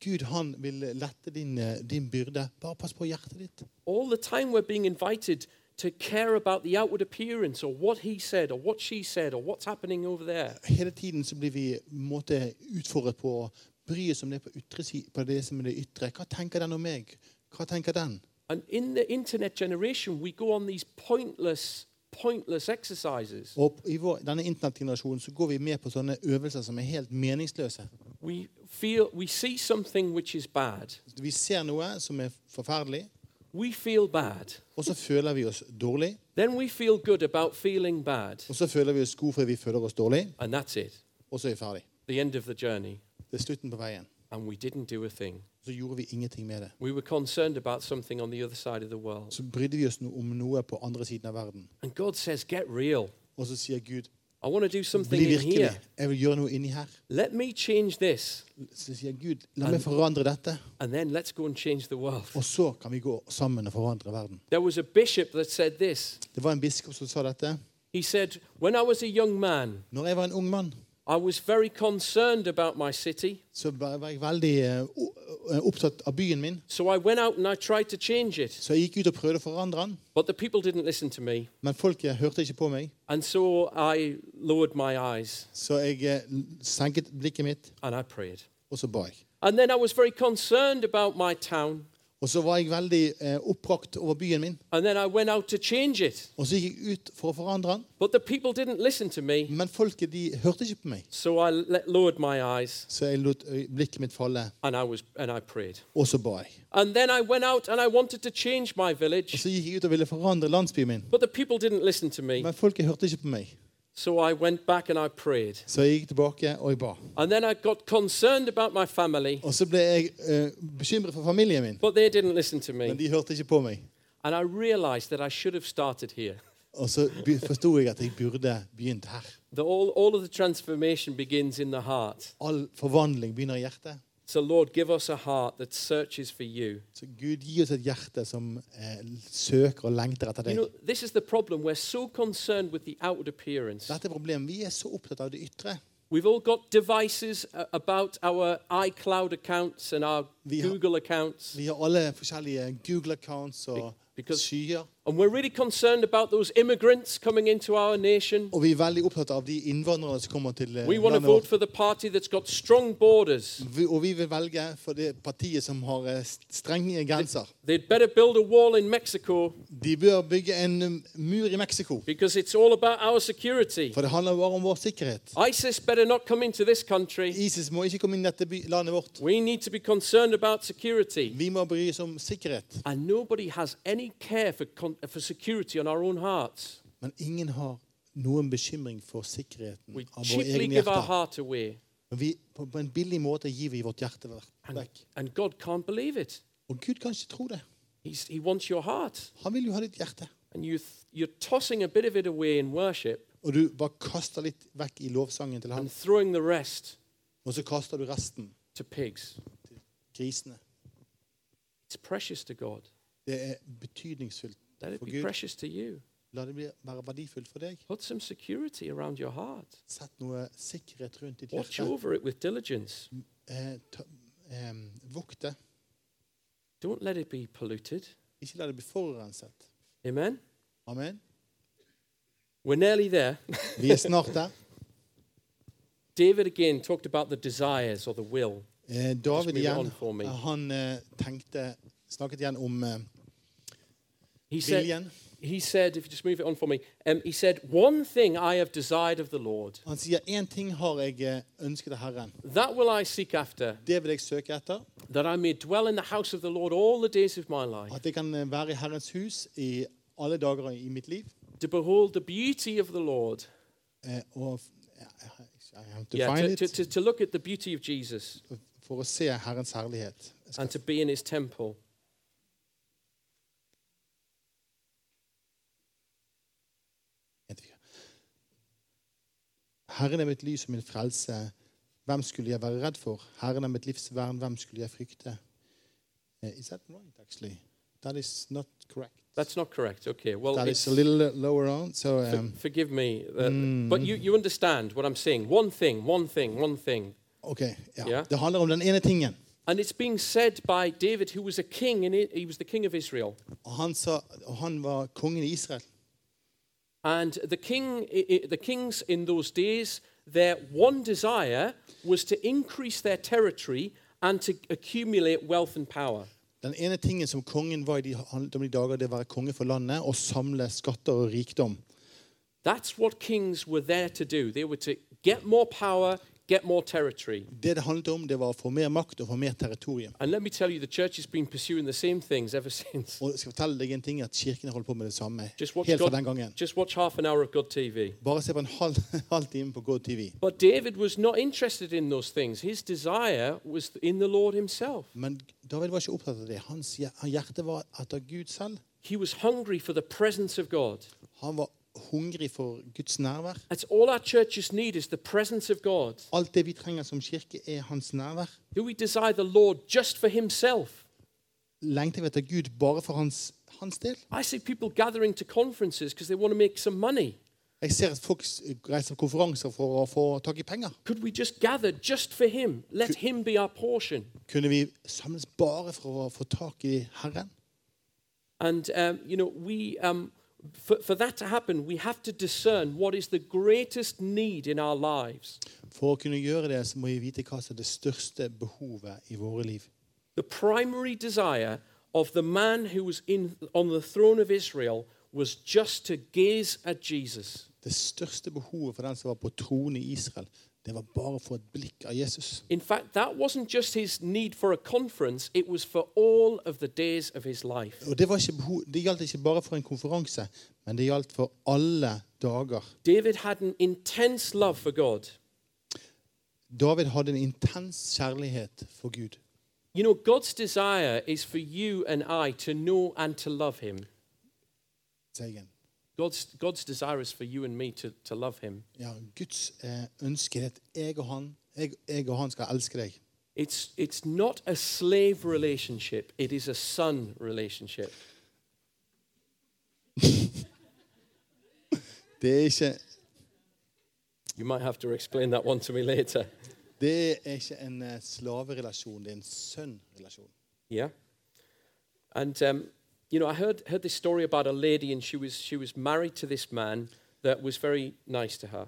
Gud han vil lette din, eh, din byrde. Bare pass på hjertet ditt. All the time we're being invited to care about the outward appearance or what he said or what she said or what's happening over there. Hele tiden så blir vi på en måte utfordret på å bry oss om det, på, ytre, si- på det som er det ytre. Hva tenker den om meg? Hva tenker den? And in the internet generation, we go on these pointless, pointless exercises. Og I vår, denne internettgenerasjonen så går vi med på sånne øvelser som er helt meningsløse. We feel we see something which is bad. Vi ser noe som er forferdelig, We feel bad. og så føler vi oss dårlig. Then we feel good about feeling bad. Og så føler vi oss gode fordi vi føler oss dårlig, And that's it. og så er vi ferdig. The end of the journey. Det er slutten på veien. And we didn't do a thing. Så gjorde vi ingenting med det. We were concerned about something on the other side of the world. Så brydde vi oss no- om noe på andre siden av verden. And God says, Get real. Og så sier Gud, I want to do something bli in virkelig. here. Jeg vil gjøre noe inni her. Let me change this. Så sier Gud, la meg forandre dette. And then let's go and change the world. Og så kan vi gå sammen og forandre verden. There was a bishop that said this. Det var en biskop som sa dette. He said, When I was a young man, Når jeg var en ung mann, I was very concerned about my city. så var var jeg veldig eh, o- eh, opptatt av byen min. So I went out and I tried to change it. Så jeg gikk ut og prøvde å forandre den, But the people didn't listen to me. men folket hørte ikke på meg. And so I lowered my eyes Så jeg eh, senket blikket mitt, and I prayed. og så ba jeg. And then I was very concerned about my town. Og så var jeg veldig eh, oppbrakt over byen min. And then I went out to change it. Og så gikk jeg ut for å forandre den, But the people didn't listen to me. men folket de hørte ikke på meg. So I let, lowered my eyes Så jeg lot øy- blikket mitt falle, and I, was, and I prayed. og så ba jeg. And then I went out and I wanted to change my Og village. så gikk jeg ut og ville forandre landsbyen min, But the people didn't listen to me. men folket hørte ikke på meg. So I went back and I prayed. Så jeg gikk tilbake, og jeg ba. And then I got concerned about my family, Og så ble jeg eh, bekymret for familien min, but they didn't listen to men me. de hørte ikke på meg. And I realized that I should have started here. Og så be- forsto jeg at jeg burde begynt her. The, all, all of the transformation begins in the heart. All forvandling begynner i hjertet. So, Lord, give us a heart that searches for you. Så Gud, gi oss et hjerte som eh, søker og lengter etter You deg. know, this is the problem. We're so concerned with the outward appearance. Dette er problemet. Vi er så opptatt av det ytre. We've all got devices uh, about our iCloud accounts and our The- Google accounts. Vi har alle forskjellige Google-accounts og Be- because- skyer. And we're really concerned about those immigrants coming into our nation. Og vi er veldig opptatt av de innvandrerne som kommer til eh, We want to landet vote vårt. for the party that's got strong borders. Vi- Og vi vil velge for det partiet som har eh, st- strenge grenser. They'd better build a wall in Mexico De bør bygge en um, mur i Mexico, because it's all about our security. for det handler bare om vår sikkerhet. ISIS better not come into this country. ISIS må ikke komme inn i dette by- landet vårt. We need to be concerned about security. Vi må bry oss om sikkerhet. And nobody has any care for, con- for security on our own hearts. Men ingen har noen bekymring for sikkerheten We av våre cheaply egne give our hjerter. heart away. Men vi, på, på en billig måte gir vi vårt hjerte ver- And, vekk. and God can't believe it. Og Gud kan ikke tro det. He's, he wants your heart. Han vil jo ha ditt hjerte. And you th- you're tossing a bit of it away in worship Og du bare kaster litt vekk i lovsangen til ham, and throwing the rest og så kaster du resten. to pigs. Grisene. It's precious to God. Det er betydningsfullt Let it for be Gud. precious to you. La det bli, være verdifullt for deg. Put some security around your heart. Sett noe sikkerhet rundt ditt Watch hjerte. over it with diligence. Eh, ta, eh, vokt det. Don't let it be polluted. Ikke la det bli forurenset. Amen? Amen. We're nearly there. (laughs) Vi er snart der. David again talked about the desires or the will. Eh, David move on igjen, for me. han eh, tenkte Snakket igjen om eh, He said, viljen. he said, if you just move it on for me, um, he said, One thing I have desired of the Lord, Han sier én ting har jeg eh, ønsket av Herren. that will I seek after, Det vil jeg søke etter. that I may dwell in the house of the Lord all the days of my life, At jeg kan eh, være i Herrens hus i alle dager i mitt liv. to behold the beauty of the Lord. Eh, og f- I have to Yeah, to, find to, it. to, to look at the beauty of Jesus For å se Herrens herlighet. Jeg skal and to be in his temple. identifikere. Herren er mitt lys og min frelse. Hvem skulle jeg være redd for? Herren er mitt livs vern. Hvem skulle jeg frykte? Eh, Is that right, actually? That is not correct. That's not correct. Okay, well, That it's, is a little lower on. So, For- um, Mm. forgive me, uh, but you, you understand what I'm saying. One thing, one thing, one thing. ok, ja. Ja. Det handler om den ene tingen. And it's being said by David, who was a king, and he was the king of Israel. Og han, sa, og han var kongen i Israel. And the king, i- i- the kings in those days, their one desire was to increase their territory and to accumulate wealth and power. Den ene tingen som kongen var i de, han- de dager, det var å være konge for landet og samle skatter og rikdom. That's what kings were there to do. They were to get more power, get more territory. Det det handlet om, det var å få mer makt og få mer territorium. And let me tell you, the church has been pursuing the same things ever (laughs) since. Og jeg skal fortelle deg en ting, at kirken har holdt på med det samme Just watch, helt fra den gangen. God, just watch half an hour of God TV. Bare se på en halv, (laughs) halv time på God TV. But David was not interested in those things. His desire was in the Lord himself. Men David var ikke opptatt av det. Hans hjer- hans hjerte var etter Gud selv. He was hungry for the presence of God. Han var hungrig for Guds nærvær. That's all our churches need is the presence of God. Alt det vi trenger som kirke, er hans nærvær. Do we desire the Lord just for himself? Lengter vi etter Gud bare for hans, hans del? I see people gathering to conferences because they want to make some money. Jeg ser at folk s- reiser på konferanser for å få tak i penger. Could we just gather just for him? Let him be our portion. Kunne vi samles bare for å få tak i Herren? And, um, you know, we, um, for, for that to happen, we have to discern what is the greatest need in our lives. For å kunne gjøre det, så må vi vite hva som er det største behovet i våre liv. The primary desire of the man who was in, on the throne of Israel was just to gaze at Jesus. Det største behovet for den som var på tronen i Israel, det var bare å få et blikk av Jesus. In fact, that wasn't just his need for a conference, it was for all of the days of his life. Og Det, var ikke behov, det gjaldt ikke bare for en konferanse, men det gjaldt for alle dager. David had an intense love for God. David hadde en intens kjærlighet for Gud. You know, God's desire is for you and I to know and to love him. sier jeg. God's, God's desire is for you and me to, to love him. Ja, Guds eh, ønske er at jeg og han, jeg, jeg og han skal elske deg. It's, it's not a slave relationship, it is a son relationship. Det er ikke, You might have to explain that one to me later. det er ikke en eh, slaverelasjon, det er en sønnrelasjon. Yeah. And um, you know, I heard heard this story about a lady, and she was she was married to this man that was very nice to her.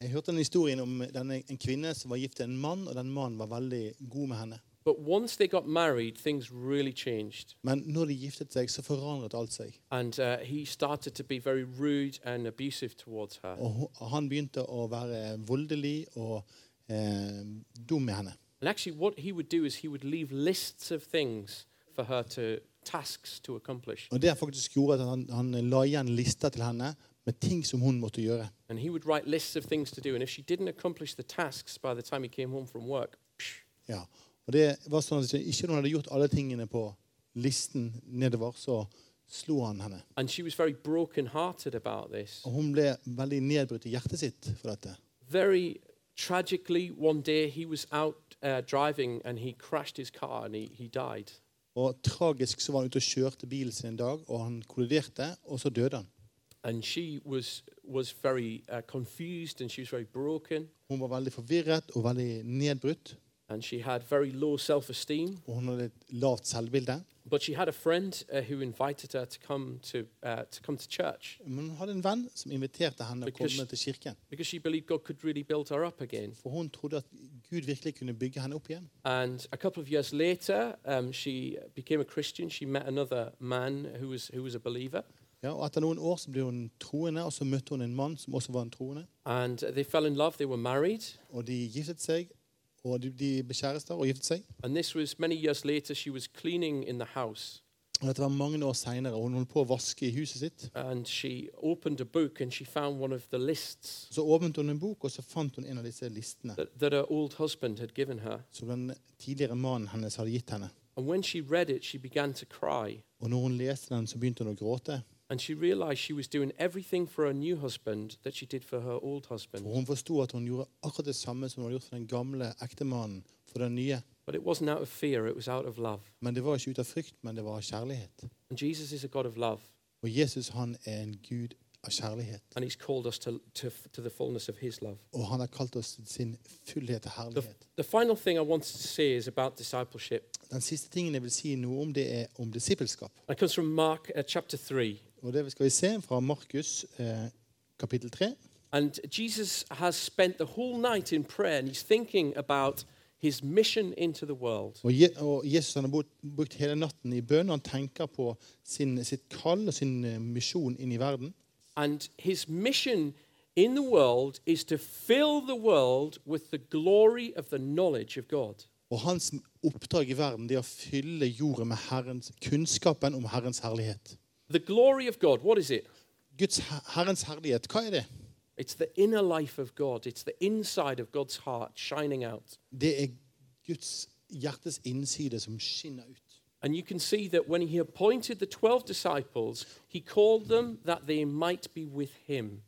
Jeg hørte en historien om denne, en kvinne som var gift til en mann, og den mannen var veldig god med henne. But once they got married, things really changed, Men når de giftet seg, så forandret alt seg. and uh, he started to be very rude and abusive towards her. Og hun- og han begynte å være voldelig og eh, dum med henne. And actually, what he would do is he would leave lists of things for her to tasks to accomplish, Og det faktisk gjorde at han, han la igjen lister til henne med ting som hun måtte gjøre. and he would write lists of things to do. And if she didn't accomplish the tasks by the time he came home from work, psh, Ja. Og det var sånn at Ikke når hun hadde gjort alle tingene på listen nedover, så slo han henne. and she was very broken-hearted about this. Og hun ble veldig nedbrutt i hjertet sitt for dette. very tragically, one day he was out uh, driving and he crashed his car and he, he died. Og tragisk så var han ute og kjørte bilen sin en dag, og han kolliderte, og så døde han. And she was, was very uh, confused and she was very broken Hun var veldig forvirret og veldig nedbrutt, and she had very low self esteem. og hun hadde et lavt selvbilde. But she had a friend uh, who invited her to come to, uh, to come to church Men hun hadde en venn som inviterte henne å Because- komme til kirken. because she believed God could really build her up again. For hun trodde at Gud virkelig kunne bygge henne opp igjen. And a couple of years later, um, she became a Christian. She met another man who was, who was a believer. Ja, og Etter noen år så ble hun troende, og så møtte hun en mann som også var en troende. And they fell in love. They were married. Og de giftet seg, og de, de ble kjærester og giftet seg. And this was many years later. She was cleaning in the house Og dette var mange år seinere, og hun holdt på å vaske i huset sitt. and she opened a book and she found one of the lists Så åpnet hun en bok, og så fant hun en av disse listene that, that her old husband had given her. som den tidligere mannen hennes hadde gitt henne. And when she read it, she began to cry. Og når hun leste den, så begynte hun å gråte. And she realized she was doing everything for her new husband that she did for her old For husband. hun forsto at hun gjorde akkurat det samme som hun hadde gjort for den gamle ektemannen for den nye. But it wasn't out of fear, it was out of love. Men det var ikke ut av frykt, men det var av kjærlighet. And Jesus is a God of love. Og Jesus han er en Gud av kjærlighet. and He's called us to, to, to the fullness of His love. Og han har kalt oss til sin fullhet og The, herlighet. the final thing I want to say is about discipleship. Den siste tingen jeg vil si noe om, det er om disippelskap. It comes from Mark uh, chapter 3. Og det skal vi se fra Markus eh, kapittel 3. And Jesus has spent the whole night in prayer and he's thinking about his mission into the world. Og, Je og Jesus han har brukt- brukt hele natten i bønn, og han tenker på sin, sitt kall og sin eh, misjon inn i verden. And his mission in the world is to fill the world with the glory of the knowledge of God. Og hans oppdrag i verden det er å fylle jorda med Herrens, kunnskapen om Herrens herlighet. The glory of God, what is it? Guds, her- Herrens herlighet, hva er det? It's the inner life of God, it's the inside of God's heart shining out. Det er Guds hjertes innside som skinner ut. And you can see that when he appointed the 12 disciples, he called them that they might be with him.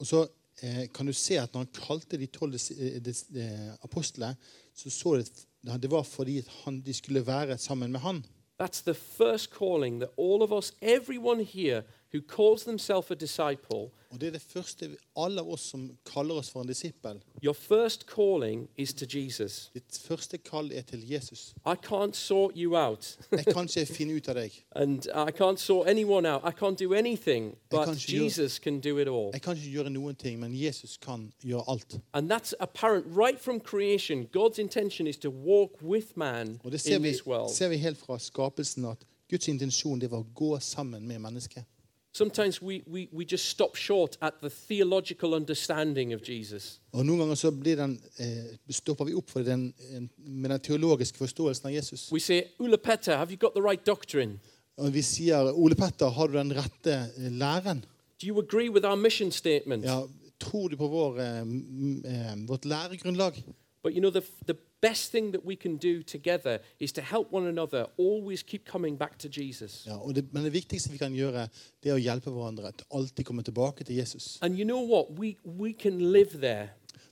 Og så eh, kan du se at når han kalte de tolv dis- eh, dis- eh, apostlene, så så det at det var fordi at han, de skulle være sammen med han. That's the first calling that all of us, everyone here who calls themselves a disciple, Og det er det første vi- alle av oss som kaller oss for en disippel. your first calling is to Jesus. Ditt første kall er til Jesus. I can't sort you out, (laughs) Jeg kan ikke finne ut av deg. and I can't sort anyone out. I can't do anything, but can't you- Jesus can do it all. Jeg kan ikke gjøre noen ting, men Jesus kan gjøre alt. And that's apparent right from creation. God's intention is to walk with man Og det ser in vi, this world. ser vi helt fra skapelsen at Guds intensjon det var å gå sammen med mennesket. Sometimes we, we, we just stop short at the theological understanding of Jesus. Og Noen ganger så blir den, eh, stopper vi opp for den, en, med den teologiske forståelsen av Jesus. We say, Ula Petter, have you got the right doctrine? Og Vi sier Ole Petter, har du den rette eh, læren? Do you agree with our mission statement? Ja, Tror du på vår, eh, m- eh, vårt læregrunnlag? But you know, the, the best thing that we can do together is to help one another always keep coming back to Jesus. Ja, og det, men det viktigste vi kan gjøre, det er å hjelpe hverandre til alltid komme tilbake til Jesus. And you know what? We, we can live there.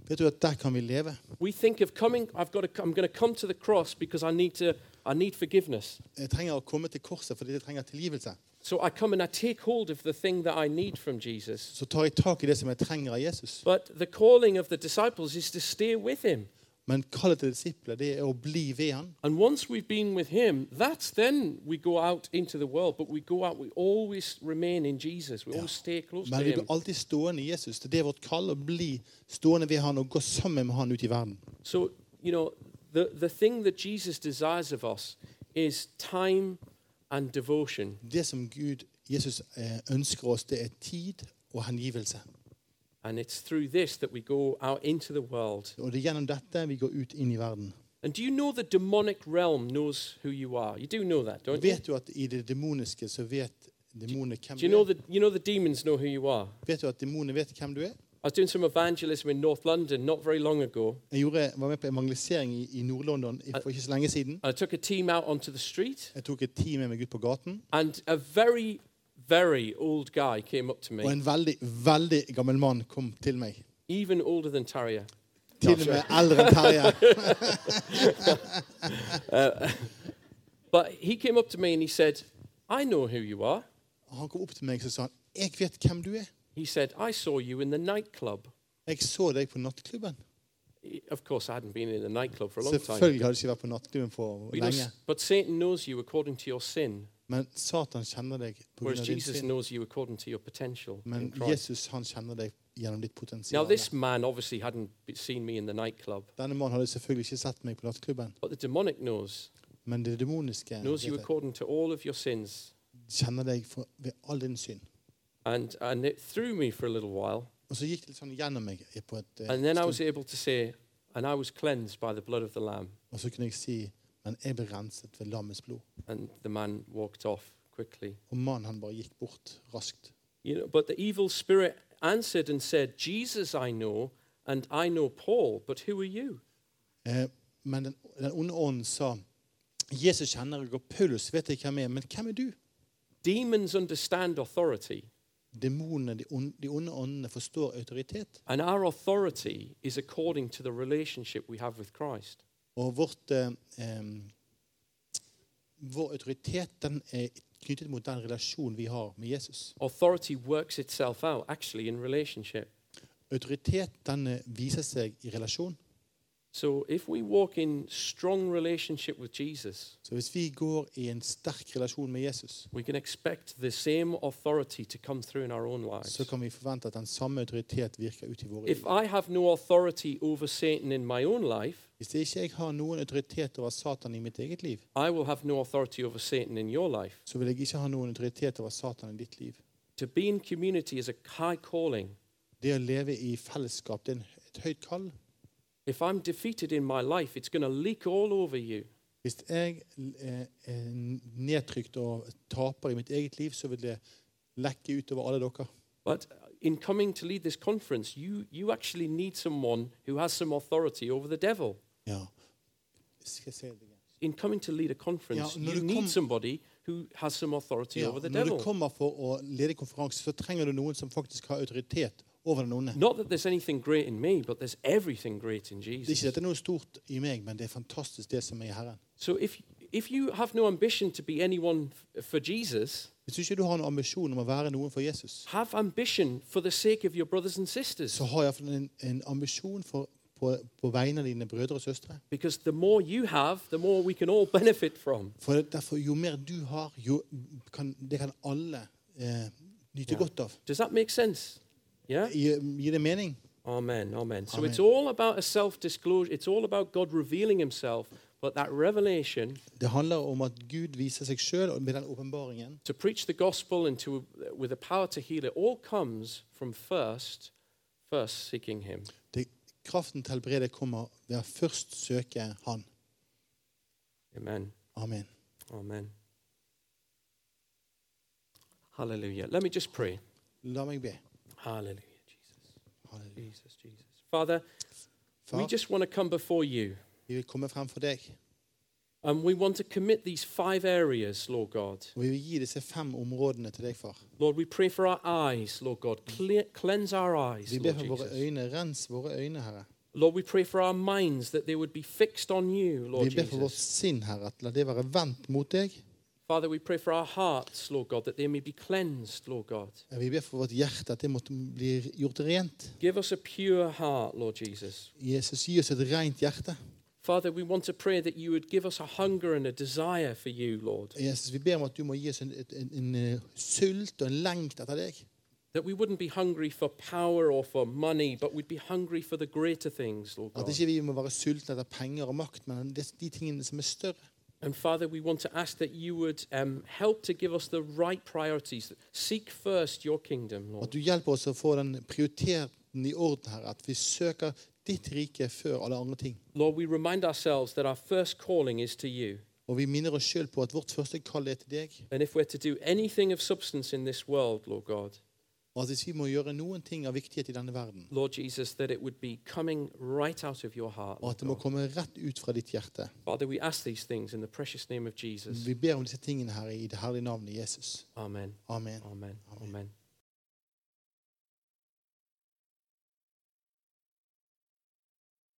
Vet du at Der kan vi leve. We think of coming, I've got to, I'm going to come to the cross because I need, to, I need forgiveness. Jeg trenger å komme til korset fordi jeg trenger tilgivelse. So I come and I take hold of the thing that I need from Jesus. Så tar jeg tak i det som jeg trenger av Jesus. But the calling of the disciples is to stay with him. Men kallet til disipler, det er å bli ved han. And once we've been with him, that's then we go out into the world. But we go out, we always remain in Jesus. We always stay close to Men vi him. blir alltid stående i Jesus. Det er vårt kall å bli stående ved han og gå sammen med han ut i verden. So, you know, the, the thing that Jesus desires of us is time and devotion. Det som Gud, Jesus, eh, ønsker oss, det er tid og hengivelse. And it's through this that we go out into the world. Og det er gjennom dette vi går ut inn i verden. And do you know the demonic realm knows who you are? You do know that, don't you? Vet du at i det demoniske så vet demonene hvem Do you du know er? that you know the demons know who you are? Vet du at demonene vet hvem du er? I was doing some evangelism in North London not very long ago, Jeg gjorde, var med på evangelisering i, i Nord-London i- for ikke så lenge siden. and I took a team out onto the street, Jeg tok et team med meg ut på gaten. and a very, very old guy came up to Og me, en veldig, veldig gammel mann kom til meg. even older than Tarja. Til og med eldre enn Terje. But he came up to me and he said, I know who you are. Han kom opp til meg og sa han, 'Jeg vet hvem du er. He said, I saw you in the nightclub. Jeg så deg på nattklubben.' Of course, I hadn't been in the nightclub for a long time. Selvfølgelig hadde jeg ikke vært på nattklubben for But, you know, lenge. but Satan knows you according to your sin, Men Satan kjenner deg på grunn whereas av din Jesus synd. knows you according to your potential. Men in Christ. Jesus han kjenner deg gjennom ditt Now, potensial. this man obviously hadn't be- seen me in the nightclub, Denne mannen hadde selvfølgelig ikke sett meg på nattklubben, but the demonic knows. men det demoniske Knows you vet jeg, according to all of your sins. kjenner deg for, ved all din synd. And, and it threw me for a little while. Og så gikk det litt sånn gjennom meg på et eh, And then I was stund, able to say, and I was cleansed by the blood of the Lamb. og så kunne jeg si Men jeg ble renset ved lammets blod. And the man walked off quickly. Og mannen han bare gikk bort raskt. You know, but the evil spirit answered and said, Jesus I know, and I know Paul, but who are you? Eh, men den, den onde ånden sa Jesus kjenner deg, og Paulus vet jeg hvem er, men hvem er du? Demons understand authority, Demonene, de, on, de onde åndene, forstår autoritet. and our authority is according to the relationship we have with Christ. Og vårt eh, eh, Vår autoritet den er knyttet mot den relasjonen vi har med Jesus. Authority works itself out actually in relationship. Autoritet den eh, viser seg i relasjon. So if we walk in strong relationship with Jesus, Så hvis vi går i en sterk relasjon med Jesus, we can expect the same authority to come through in our own lives. så kan vi forvente at den samme autoritet virker ut i våre liv. If I have no authority over Satan in my own life, Hvis ikke jeg har noen autoritet over Satan i mitt eget liv, I will have no authority over Satan in your life. så vil jeg ikke ha noen autoritet over Satan i ditt liv. To be in community is a high calling. Det å leve i fellesskap det er en- et høyt kall. If I'm defeated in my life, it's going to leak all over you. Hvis jeg eh, er nedtrykt og taper i mitt eget liv, så vil det lekke utover alle dere. But in coming to lead this conference, you, you actually need someone who has some authority over the devil. Ja. Skal jeg si det igjen? In coming to lead a conference, Ja, når you du need kom- somebody who has some authority Ja, er over the når du devil. kommer for å lede konferanse, så trenger du noen som faktisk har autoritet over den onde. Not that there's anything great in me, but there's everything great in Det er Jesus. ikke dette er noe stort i meg, men det er fantastisk det som er i Herren. So if, if you have no ambition to be anyone f- for Jesus, Hvis ikke du har noen ambisjon om å være noen for Jesus, have ambition for the sake of your brothers and sisters. så har jeg iallfall en, en ambisjon for, på, på vegne av dine brødre og søstre. Because the more you have, the more we can all (laughs) benefit from. For derfor, jo mer du har, jo kan, det kan alle eh, nyte godt av. Does that make sense? Yeah? Gir gir det mening? Amen, amen. So it's Amen. all about a self disclosure. It's all about God revealing himself. But that revelation Det handler om at Gud viser seg sjøl med den åpenbaringen. to preach the gospel and to, with the power to heal, it all comes from first, first seeking him. Det- Kraften til helbrede kommer ved å først søke Han. Amen, Amen. amen. Hallelujah. Let me just pray. La meg be. Hallelujah, Jesus, Halleluja. Jesus, Jesus. Father, we Far, just want to come before you vi vil komme frem for deg, and Um, we want to commit these five areas, Lord God. og vi vil gi disse fem områdene til deg, far. Lord, we pray for our eyes, Lord God. Clear, cleanse our eyes, Vi ber Lord for våre Jesus. øyne. Rens våre øyne, Herre. Lord, we pray for our minds that they would be fixed on you, Lord Vi ber for vårt Jesus. sinn, Herre, at la det være vendt mot deg. Father, we pray for our hearts, Lord God, that they may be cleansed, Lord God. Vi ber for vårt hjerte at det måtte bli gjort rent. Give us a pure heart, Lord Jesus. Jesus, gi oss et rent hjerte. Father, we want to pray that you would give us a hunger and a desire for you, Lord. Jesus, Vi ber om at du må gi oss en, et- en, en eh, sult og en lengt etter deg. That we wouldn't be hungry for power or for money, but we'd be hungry for the greater things, Lord At God. ikke vi må være sultne etter penger og makt, men de, de tingene som er større. And Father, we want to ask that you would um, help to give us the right priorities. Seek first your kingdom, At Lord. du hjelper oss å få den prioriteten i orden her. At vi søker ditt rike før alle andre ting. Lord, we remind ourselves that our first calling is to you. Og vi minner oss sjøl på at vårt første kall er til deg. And if we're to do anything of substance in this world, Lord God, Og at hvis vi må gjøre noen ting av viktighet i denne verden, Lord Jesus, that it would be coming right out of your heart. og at Lord det må God. komme rett ut fra ditt hjerte Father, we ask these things in the precious name of Jesus. Vi ber om disse tingene her i det herlige navnet Jesus. Amen. Amen. Amen. Amen. Amen.